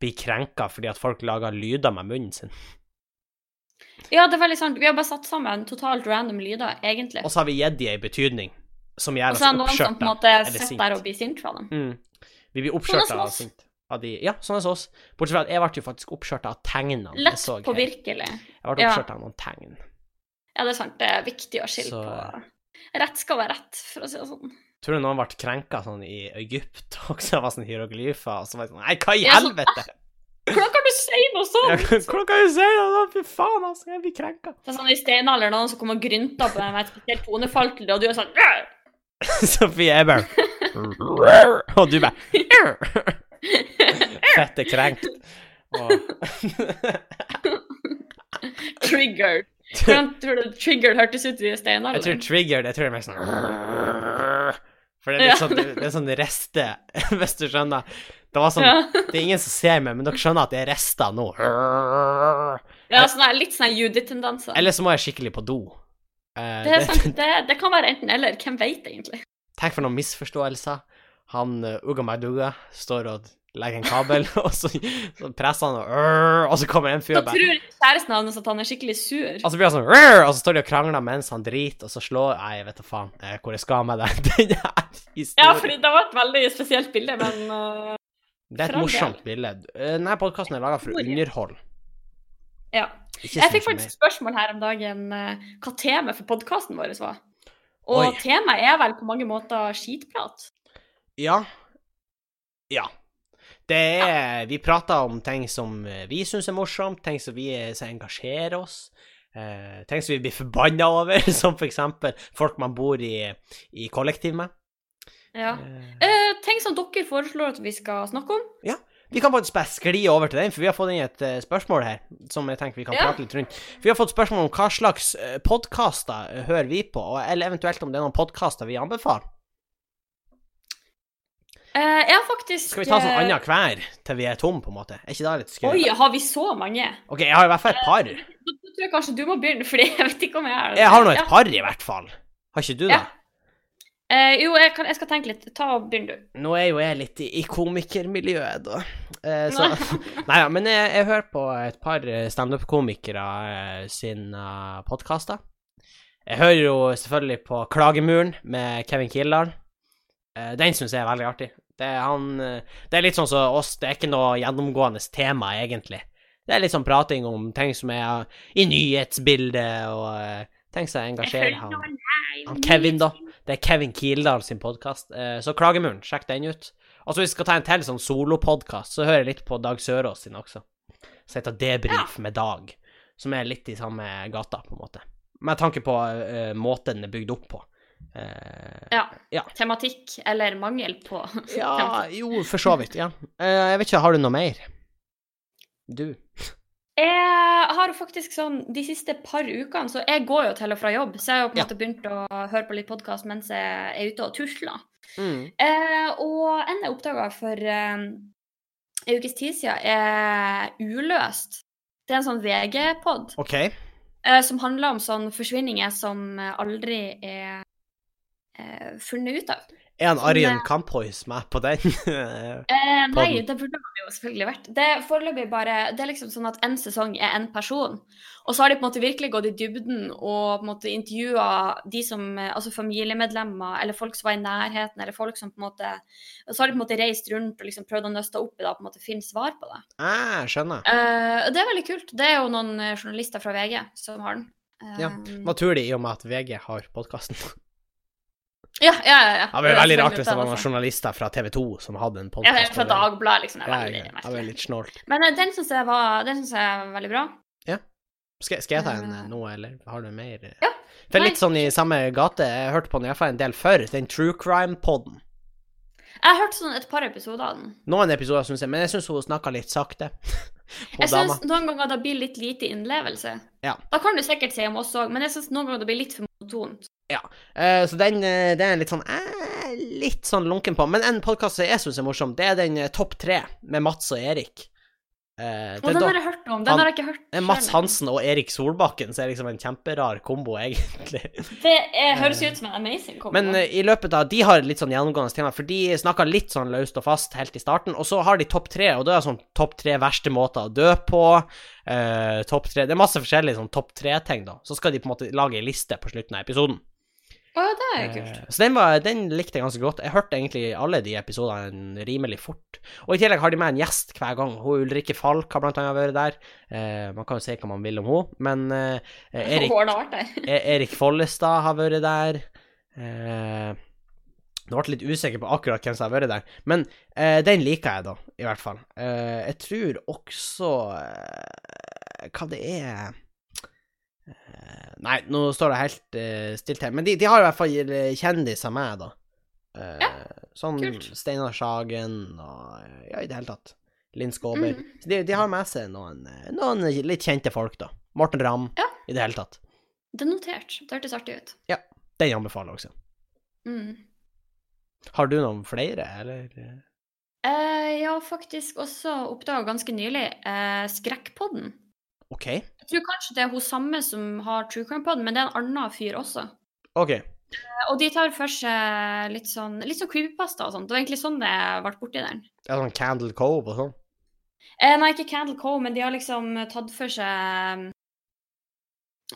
Speaker 1: blir krenka fordi at folk lager lyder med munnen sin.
Speaker 2: Ja, det er veldig sant. Vi har bare satt sammen totalt random lyder, egentlig.
Speaker 1: Og så har vi gitt dem ei betydning som
Speaker 2: Og
Speaker 1: gjør oss
Speaker 2: så er det Altså, noen som på en
Speaker 1: oppskjørta.
Speaker 2: måte
Speaker 1: Eller
Speaker 2: sitter
Speaker 1: sint.
Speaker 2: der og blir sint fra dem.
Speaker 1: Mm. Vi blir
Speaker 2: Sånn er
Speaker 1: oppskjørta
Speaker 2: som
Speaker 1: av
Speaker 2: oss.
Speaker 1: sint. Av de, ja, sånn er som oss. Bortsett fra at jeg ble jo faktisk oppskjørta av tegnene. jeg
Speaker 2: Lett
Speaker 1: så her.
Speaker 2: påvirkelig.
Speaker 1: Jeg ble
Speaker 2: ja.
Speaker 1: oppskjørta av noen tegn.
Speaker 2: Ja, det er sant. Det er viktig å skille
Speaker 1: Så-
Speaker 2: på Rett skal være rett, for å si det sånn.
Speaker 1: Tror du noen ble krenka sånn i Egypt [laughs] også, det var sånn hieroglyfer, og så var det sånn Nei, hva i
Speaker 2: Ja, sånn,
Speaker 1: helvete?
Speaker 2: Hvordan kan du si noe sånt?!
Speaker 1: Hvordan kan du si det? da? Fy faen, altså, jeg blir krenka. [laughs]
Speaker 2: Det er sånn I steinalderen noen som kommer og grynter på deg med et spesielt tonefall til det, og du er sånn [laughs] «Rød!»
Speaker 1: Sofie er bare [laughs] Og du bare Fette krenkt. Og, [laughs]
Speaker 2: Triggered. Hvordan tror du triggered hørtes ut i
Speaker 1: jeg tror
Speaker 2: steinalderen?
Speaker 1: triggered Jeg tror det er mer sånn [laughs] For det er litt sånn, det er sånn reste, [laughs] hvis du skjønner. Det var sånn
Speaker 2: Ja,
Speaker 1: Det er ingen som ser meg, men dere skjønner at det er rester nå.
Speaker 2: ja sånn her, litt sånn judetendenser.
Speaker 1: Eller så må jeg skikkelig på do. Eh,
Speaker 2: Det er
Speaker 1: [laughs]
Speaker 2: sant, det, det kan være enten eller. Hvem veit egentlig?
Speaker 1: Tenk for noen misforståelser. Han eh, Uga Maduga står og legger en kabel, [laughs] og så, så presser han, og, «Rrr», og så kommer en fyr
Speaker 2: Så
Speaker 1: og bare
Speaker 2: tror kjæresten hans at han er skikkelig sur.
Speaker 1: Og så blir han sånn «Rrr», Og så står de og krangler mens han driter, og så slår Nei, jeg vet da faen eh, hvor jeg skal med det. [laughs] Den her
Speaker 2: Ja,
Speaker 1: historien.
Speaker 2: fordi det var et veldig spesielt bilde, men øh,
Speaker 1: Det er et
Speaker 2: for all
Speaker 1: morsomt bilde. Eh, Denne podkasten er laga for å
Speaker 2: Historie.
Speaker 1: underholde.
Speaker 2: ja.
Speaker 1: Ikke
Speaker 2: Jeg
Speaker 1: sånn
Speaker 2: fikk
Speaker 1: som
Speaker 2: faktisk spørsmål her om dagen eh, hva temaet for podkasten vår var. Og
Speaker 1: Oi.
Speaker 2: temaet er vel på mange måter skitprat.
Speaker 1: Ja. Ja. Det er Vi prater om ting som eh, vi syns er morsomt, ting som vi eh, som engasjerer oss. eh, ting som vi blir forbanna over, [laughs] som for eksempel folk man bor i, i kollektiv med.
Speaker 2: Ja.
Speaker 1: Eh,
Speaker 2: Eh, ting som dere foreslår at vi skal snakke om.
Speaker 1: vi kan faktisk bare skli over til den, for vi har fått inn et eh, spørsmål her som jeg tenker vi kan
Speaker 2: Ja.
Speaker 1: prate litt rundt. Vi har fått spørsmål om hva slags eh, podkaster eh, hører vi på, og, eller eventuelt om det er noen podkaster vi anbefaler.
Speaker 2: Eh, jeg har faktisk
Speaker 1: Skal vi ta sånn
Speaker 2: eh,
Speaker 1: annenhver til vi er tom, på en måte? Er ikke det litt skummelt?
Speaker 2: Oi, har vi så mange?
Speaker 1: OK, jeg har i hvert fall et par.
Speaker 2: Da, da tror jeg kanskje du må begynne, [laughs] fordi jeg vet ikke om jeg er det.
Speaker 1: Jeg har nå et
Speaker 2: Ja.
Speaker 1: par, i hvert fall. Har ikke du, da?
Speaker 2: Ja. Eh, jo, jeg, kan, jeg skal tenke litt. Ta og Begynn du.
Speaker 1: Nå er jo jeg litt i, i komikermiljøet, da. Eh, så, [laughs] nei ja, men jeg, jeg hører på et par eh, standup-komikere eh, sine podkaster. Jeg hører jo selvfølgelig på Klagemuren med Kevin Kildahl. Eh, den syns jeg er veldig artig. Det er, han, eh, det er litt sånn som oss, det er ikke noe gjennomgående tema, egentlig. Det er litt sånn prating om ting som er i nyhetsbildet, og eh, ting som engasjerer han. Han Kevin, da. Det er Kevin Kildahl sin podkast. Så Klagemuren, sjekk den ut. Og så hvis vi skal ta en til sånn solopodkast, så hører jeg litt på Dag Sørås sin også. Som heter Debrif med Dag. Som er litt i samme gata, på en måte. Med tanke på eh, måten den er bygd opp på. Eh,
Speaker 2: Ja.
Speaker 1: Ja.
Speaker 2: Tematikk eller mangel på
Speaker 1: ja, jo, for så vidt. Ja. Eh, jeg vet ikke, har du noe mer? Du?
Speaker 2: Jeg har jo faktisk sånn De siste par ukene Så jeg går jo til og fra jobb, så jeg har jo på en
Speaker 1: Ja.
Speaker 2: måte begynt å høre på litt podkast mens jeg er ute og tusler. Eh, og en jeg oppdaga for eh, en ukes tid siden, er Uløst. Det er en sånn VG-pod
Speaker 1: OK.
Speaker 2: eh, som handler om sånn forsvinninger som eh, aldri er eh, funnet ut av.
Speaker 1: Er han Arjen
Speaker 2: Nei.
Speaker 1: Kamphuis med på den? [laughs]
Speaker 2: Eh, nei,
Speaker 1: Podden.
Speaker 2: det burde han jo selvfølgelig vært. Det er foreløpig bare Det er liksom sånn at en sesong er en person. Og så har de på en måte virkelig gått i dybden og på en måte intervjua de som eh, Altså familiemedlemmer eller folk som var i nærheten, eller folk som på en måte Og så har de på en måte reist rundt og liksom prøvd å nøste opp i det og på en måte finne svar på det.
Speaker 1: ah, skjønner.
Speaker 2: Eh, og det er veldig kult. Det er jo noen eh, journalister fra VG som har den. Eh,
Speaker 1: Ja. Hva tror de, i og med at VG har podkasten?
Speaker 2: ja, ja, ja, ja.
Speaker 1: Det hadde vært veldig rart hvis det var
Speaker 2: selvfølgelig
Speaker 1: noen
Speaker 2: planer,
Speaker 1: journalister fra TV 2 som hadde en
Speaker 2: altså. Ja,
Speaker 1: podkast.
Speaker 2: fra Dagbladet, liksom. Det er
Speaker 1: Ja,
Speaker 2: veldig
Speaker 1: ja, det
Speaker 2: merkelig.
Speaker 1: var litt snålt.
Speaker 2: Men eh, den syns jeg, var- den synes jeg er veldig bra.
Speaker 1: Skal, skal jeg ta en
Speaker 2: Eh.
Speaker 1: nå, eller har du mer?
Speaker 2: Ja,
Speaker 1: For
Speaker 2: nei.
Speaker 1: litt sånn i samme gate, jeg hørte på den iallfall en del før, den True Crime-poden.
Speaker 2: Jeg har hørt sånn et par episoder av den.
Speaker 1: Noen episoder syns jeg, men jeg syns hun snakka litt
Speaker 2: [laughs]
Speaker 1: sakte. Hun
Speaker 2: Jeg
Speaker 1: dama.
Speaker 2: syns noen ganger det blir litt lite innlevelse.
Speaker 1: Ja.
Speaker 2: Da kan du sikkert si om oss òg, men jeg syns noen ganger det blir litt for monotont.
Speaker 1: Eh, så den, eh, den er litt sånn eh, Litt sånn lunken på. Men en podkast som jeg syns er morsom, det er den eh, Topp tre med Mats og Erik. Eh,
Speaker 2: Og
Speaker 1: det er
Speaker 2: den
Speaker 1: da-
Speaker 2: har jeg hørt om.
Speaker 1: han-
Speaker 2: Den har jeg ikke hørt.
Speaker 1: det er Mats
Speaker 2: selv.
Speaker 1: Hansen og Erik Solbakken, så er liksom en kjemperar kombo, [laughs] egentlig.
Speaker 2: Det er, høres ut som en amazing kombo.
Speaker 1: Eh, Men eh, i løpet av De har et litt sånn gjennomgående tema, for de snakker litt sånn løst og fast helt i starten, og så har de topp tre, og da er det sånn topp tre verste måter å dø på, eh, topp tre Det er masse forskjellige sånn topp tre-ting, da. Så skal de på en måte lage ei liste på slutten av episoden.
Speaker 2: Å, ja, det er jo kult.
Speaker 1: Eh, så den, var, den likte jeg ganske godt. Jeg hørte egentlig alle de episodene rimelig fort. Og i tillegg har de med en gjest hver gang. Hun Ulrikke Falk har blant annet vært der. Eh, man kan jo si hva man vil om henne, men eh, Erik
Speaker 2: Hårene har vært der.
Speaker 1: E- Erik Follestad har vært der. Eh, nå ble jeg litt usikker på akkurat hvem som har vært der, men eh, den liker jeg, da, i hvert fall. Eh, jeg tror også eh, Hva det er eh, Nei, nå står det helt eh, stilt her, men de, de har i hvert fall eh, kjendiser med, da. Eh, sånn
Speaker 2: kult.
Speaker 1: Steinar Sagen og eh, Ja, i det hele tatt. Linn Skåber.
Speaker 2: Mhm.
Speaker 1: Så de, de har med seg noen, eh, noen litt kjente folk, da. Morten Ramm,
Speaker 2: Ja.
Speaker 1: i det hele tatt.
Speaker 2: Det er notert. Det hørtes artig ut.
Speaker 1: Den anbefaler jeg også.
Speaker 2: Mm.
Speaker 1: Har du noen flere, eller?
Speaker 2: Eh, jeg har faktisk også oppdaga ganske nylig eh, Skrekkpodden.
Speaker 1: OK.
Speaker 2: Jeg tror kanskje det er hun samme som har True Crime-podden, men det er en annen fyr også.
Speaker 1: OK.
Speaker 2: Og de tar for seg litt sånn, litt sånn creepypasta og sånt. Det var egentlig sånn det ble borti den.
Speaker 1: Ja, sånn Candle Cove og sånn?
Speaker 2: Eh, nei, ikke Candle Cove, men de har liksom tatt for seg eh,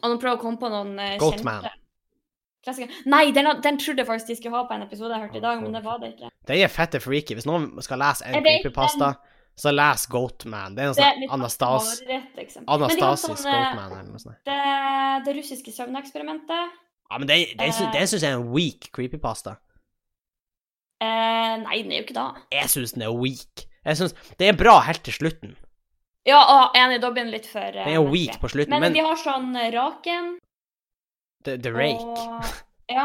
Speaker 2: Og nå prøver jeg å komme på noen eh,
Speaker 1: Goatman.
Speaker 2: kjente klassikere. Nei, den, har- den trodde jeg faktisk de skulle ha på en episode jeg hørte i dag, men det var det ikke.
Speaker 1: Den er fette freaky. Hvis noen skal lese en
Speaker 2: Jeg vet
Speaker 1: creepypasta, så les Goatman. Det er en
Speaker 2: Det er
Speaker 1: sånn
Speaker 2: litt
Speaker 1: Anastas
Speaker 2: Mareritt, liksom. Men de har
Speaker 1: Anastasisk
Speaker 2: eh,
Speaker 1: Goatman eller noe sånt.
Speaker 2: det, det russiske søvneksperimentet.
Speaker 1: Ja, men den, den, sy-
Speaker 2: eh,
Speaker 1: den syns jeg er en weak creepypasta.
Speaker 2: Eh, nei, den er jo ikke da.
Speaker 1: Jeg syns den er weak. Jeg synes, Det er bra helt til slutten.
Speaker 2: Ja, og enig, da blir den litt for eh,
Speaker 1: Den er
Speaker 2: merkelig.
Speaker 1: weak på slutten,
Speaker 2: Men,
Speaker 1: men
Speaker 2: de har sånn eh, Raken
Speaker 1: The, the Rake
Speaker 2: og Ja.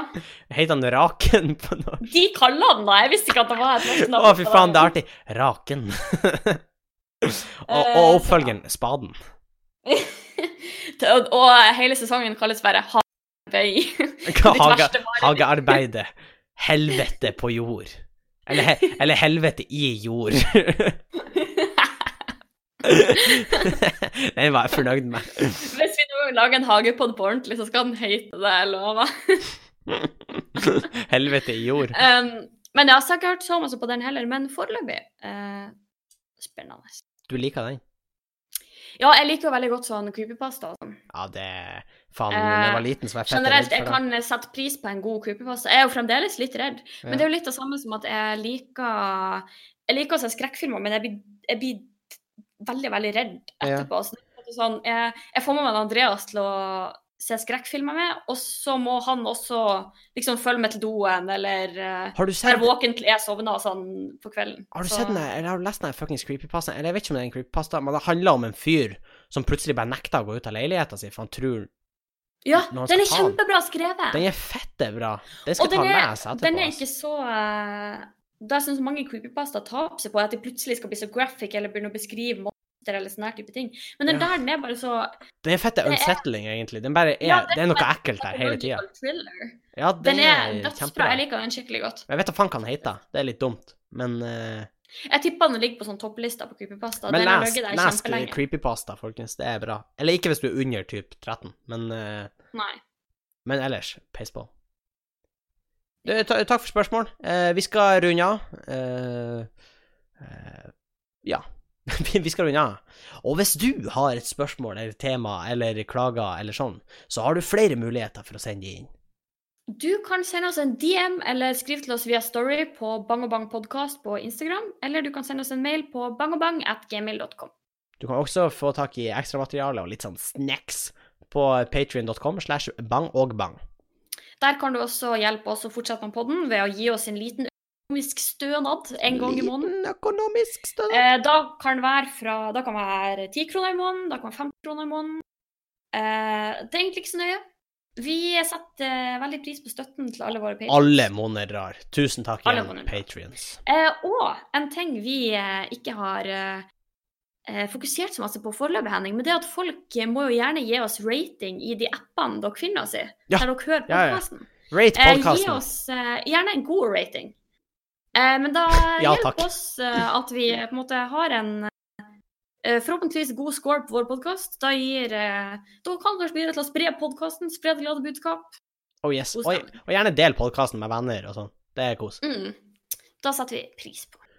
Speaker 1: Heter han Raken på norsk?
Speaker 2: De kaller den da, jeg visste ikke at det var et
Speaker 1: Å,
Speaker 2: norsk navn.
Speaker 1: fy faen, det er artig. Raken. [laughs] og, og
Speaker 2: Eh, så-
Speaker 1: oppfølgeren, Spaden.
Speaker 2: Til- [laughs] og, og hele sesongen kalles bare [laughs] Havøy.
Speaker 1: Hva
Speaker 2: Ditt
Speaker 1: Haga,
Speaker 2: verste mareritt.
Speaker 1: hagearbeidet. Helvete på jord. Eller, he, eller helvete i
Speaker 2: [laughs]
Speaker 1: jord. [laughs] Den var jeg fornøyd med.
Speaker 2: Hvis vi nå skal vi lage en hagepod på ordentlig, så skal den hete det, jeg lover.
Speaker 1: Helvete i jord.
Speaker 2: Um, men jeg har ikke hørt så mye på den heller, men foreløpig eh, spennende.
Speaker 1: Du liker den?
Speaker 2: Ja, jeg liker jo veldig godt sånn creepypasta. og sånn.
Speaker 1: Ja, det Faen,
Speaker 2: Eh,
Speaker 1: da jeg var liten, så var jeg fett
Speaker 2: Generelt, jeg
Speaker 1: redd for det.
Speaker 2: kan eh, sette pris på en god creepypasta. Jeg er jo fremdeles litt redd, men
Speaker 1: Ja.
Speaker 2: det er jo litt det samme som at jeg liker Jeg liker å se skrekkfilmer, men jeg blir, jeg blir veldig, veldig redd
Speaker 1: Ja.
Speaker 2: etterpå. Så det er på en måte sånn, jeg, jeg får med meg Andreas til å se skrekkfilmer med, og så må han også liksom følge med til doen, eller eh,
Speaker 1: Har du
Speaker 2: være
Speaker 1: sett
Speaker 2: våken til jeg sovner og sånn på kvelden.
Speaker 1: Har du
Speaker 2: Så-
Speaker 1: sett den der, eller har du lest den der fuckings creepypasta? Eller jeg vet ikke om det er en creepypasta, men det handler om en fyr som plutselig bare nekter å gå ut av leiligheta si, for han tror
Speaker 2: Ja,
Speaker 1: når han
Speaker 2: den er
Speaker 1: skal ta den.
Speaker 2: kjempebra skrevet!
Speaker 1: Den er fette bra. Den
Speaker 2: Og
Speaker 1: skal
Speaker 2: den
Speaker 1: ta
Speaker 2: er,
Speaker 1: med seg etterpå.
Speaker 2: den er
Speaker 1: ass.
Speaker 2: ikke så eh, Det jeg syns mange creepypasta taper seg på, er at de plutselig skal bli så graphic eller begynne å beskrive monster eller sånne her type ting. Men den
Speaker 1: Ja.
Speaker 2: der den er bare så
Speaker 1: Den er fette
Speaker 2: Det er-
Speaker 1: unsettling, egentlig. Den bare er,
Speaker 2: Ja, den
Speaker 1: det er noe
Speaker 2: er-
Speaker 1: ekkelt der hele tida.
Speaker 2: thriller.
Speaker 1: Ja,
Speaker 2: Den
Speaker 1: den,
Speaker 2: er dødsbra.
Speaker 1: kjempebra.
Speaker 2: Jeg liker den skikkelig godt.
Speaker 1: Jeg vet da faen hva den heter. Det er litt dumt. Men, eh,
Speaker 2: Jeg tipper den ligger på sånn topplista på creepypasta.
Speaker 1: men
Speaker 2: den har
Speaker 1: les,
Speaker 2: ligget der
Speaker 1: les
Speaker 2: kjempelenge.
Speaker 1: Creepypasta, folkens. Det er bra. Eller ikke hvis du er under typ 13, men, eh,
Speaker 2: Nei.
Speaker 1: men ellers, peis på. Du, ta, takk for spørsmål. Eh, vi skal runde av. Eh, eh, ja. [laughs] Vi vi skal runde av. Og hvis du har et spørsmål eller tema eller klager eller sånn, så har du flere muligheter for å sende de inn.
Speaker 2: Du kan sende oss en DM eller skriv til oss via Story på bangobangpodkast på Instagram, eller du kan sende oss en mail på bangobang.gmil.com.
Speaker 1: Du kan også få tak i ekstramateriale og litt sånn snacks på patrion.com slash bang og bang.
Speaker 2: Der kan du også hjelpe oss å fortsette med podden ved å gi oss en liten økonomisk stønad en gang i måneden.
Speaker 1: Liten økonomisk støtte.
Speaker 2: Eh, da kan det være fra Da kan det være 10 kroner i måneden, da kan det være 50 kroner i måneden. Eh, det er egentlig ikke så nøye. Vi setter eh, veldig pris på støtten til alle våre patrons.
Speaker 1: Alle måneder. Tusen takk
Speaker 2: Eh, Alle
Speaker 1: igjen,
Speaker 2: måneder.
Speaker 1: patrions.
Speaker 2: Eh, og en ting vi eh, ikke har eh, eh, fokusert så masse på foreløpig, Henning, men det er at folk eh, må jo gjerne gi oss rating i de appene dere finner oss i,
Speaker 1: Ja.
Speaker 2: der dere hører
Speaker 1: Ja, ja.
Speaker 2: podkasten.
Speaker 1: Rate
Speaker 2: Eh, gi
Speaker 1: podkasten.
Speaker 2: oss eh, gjerne en god rating. Eh, men da
Speaker 1: [laughs] Ja, takk.
Speaker 2: hjelper oss eh, at vi eh, på en måte har en eh, forhåpentligvis god score på vår podkast. Da gir eh, Da kan dere bidra til å spre podkasten, spre det glade budskap.
Speaker 1: Oh, yes.
Speaker 2: god
Speaker 1: og,
Speaker 2: stemning.
Speaker 1: og gjerne del podkasten med venner og sånn. Det er kos.
Speaker 2: Mm. Da setter vi pris på det.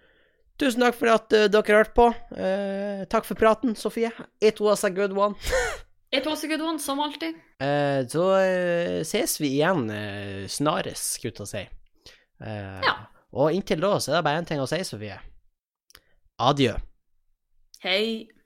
Speaker 1: Tusen takk for at eh, dere hørte på. Eh, takk for praten, Sofie. It was a good one.
Speaker 2: Et også, good one, som alltid.
Speaker 1: Eh, så eh, ses vi igjen eh, snarest, skulle jeg til å si. Eh,
Speaker 2: Ja.
Speaker 1: Og inntil da så er det bare én ting å si, Sofie. Adjø.
Speaker 2: Hei.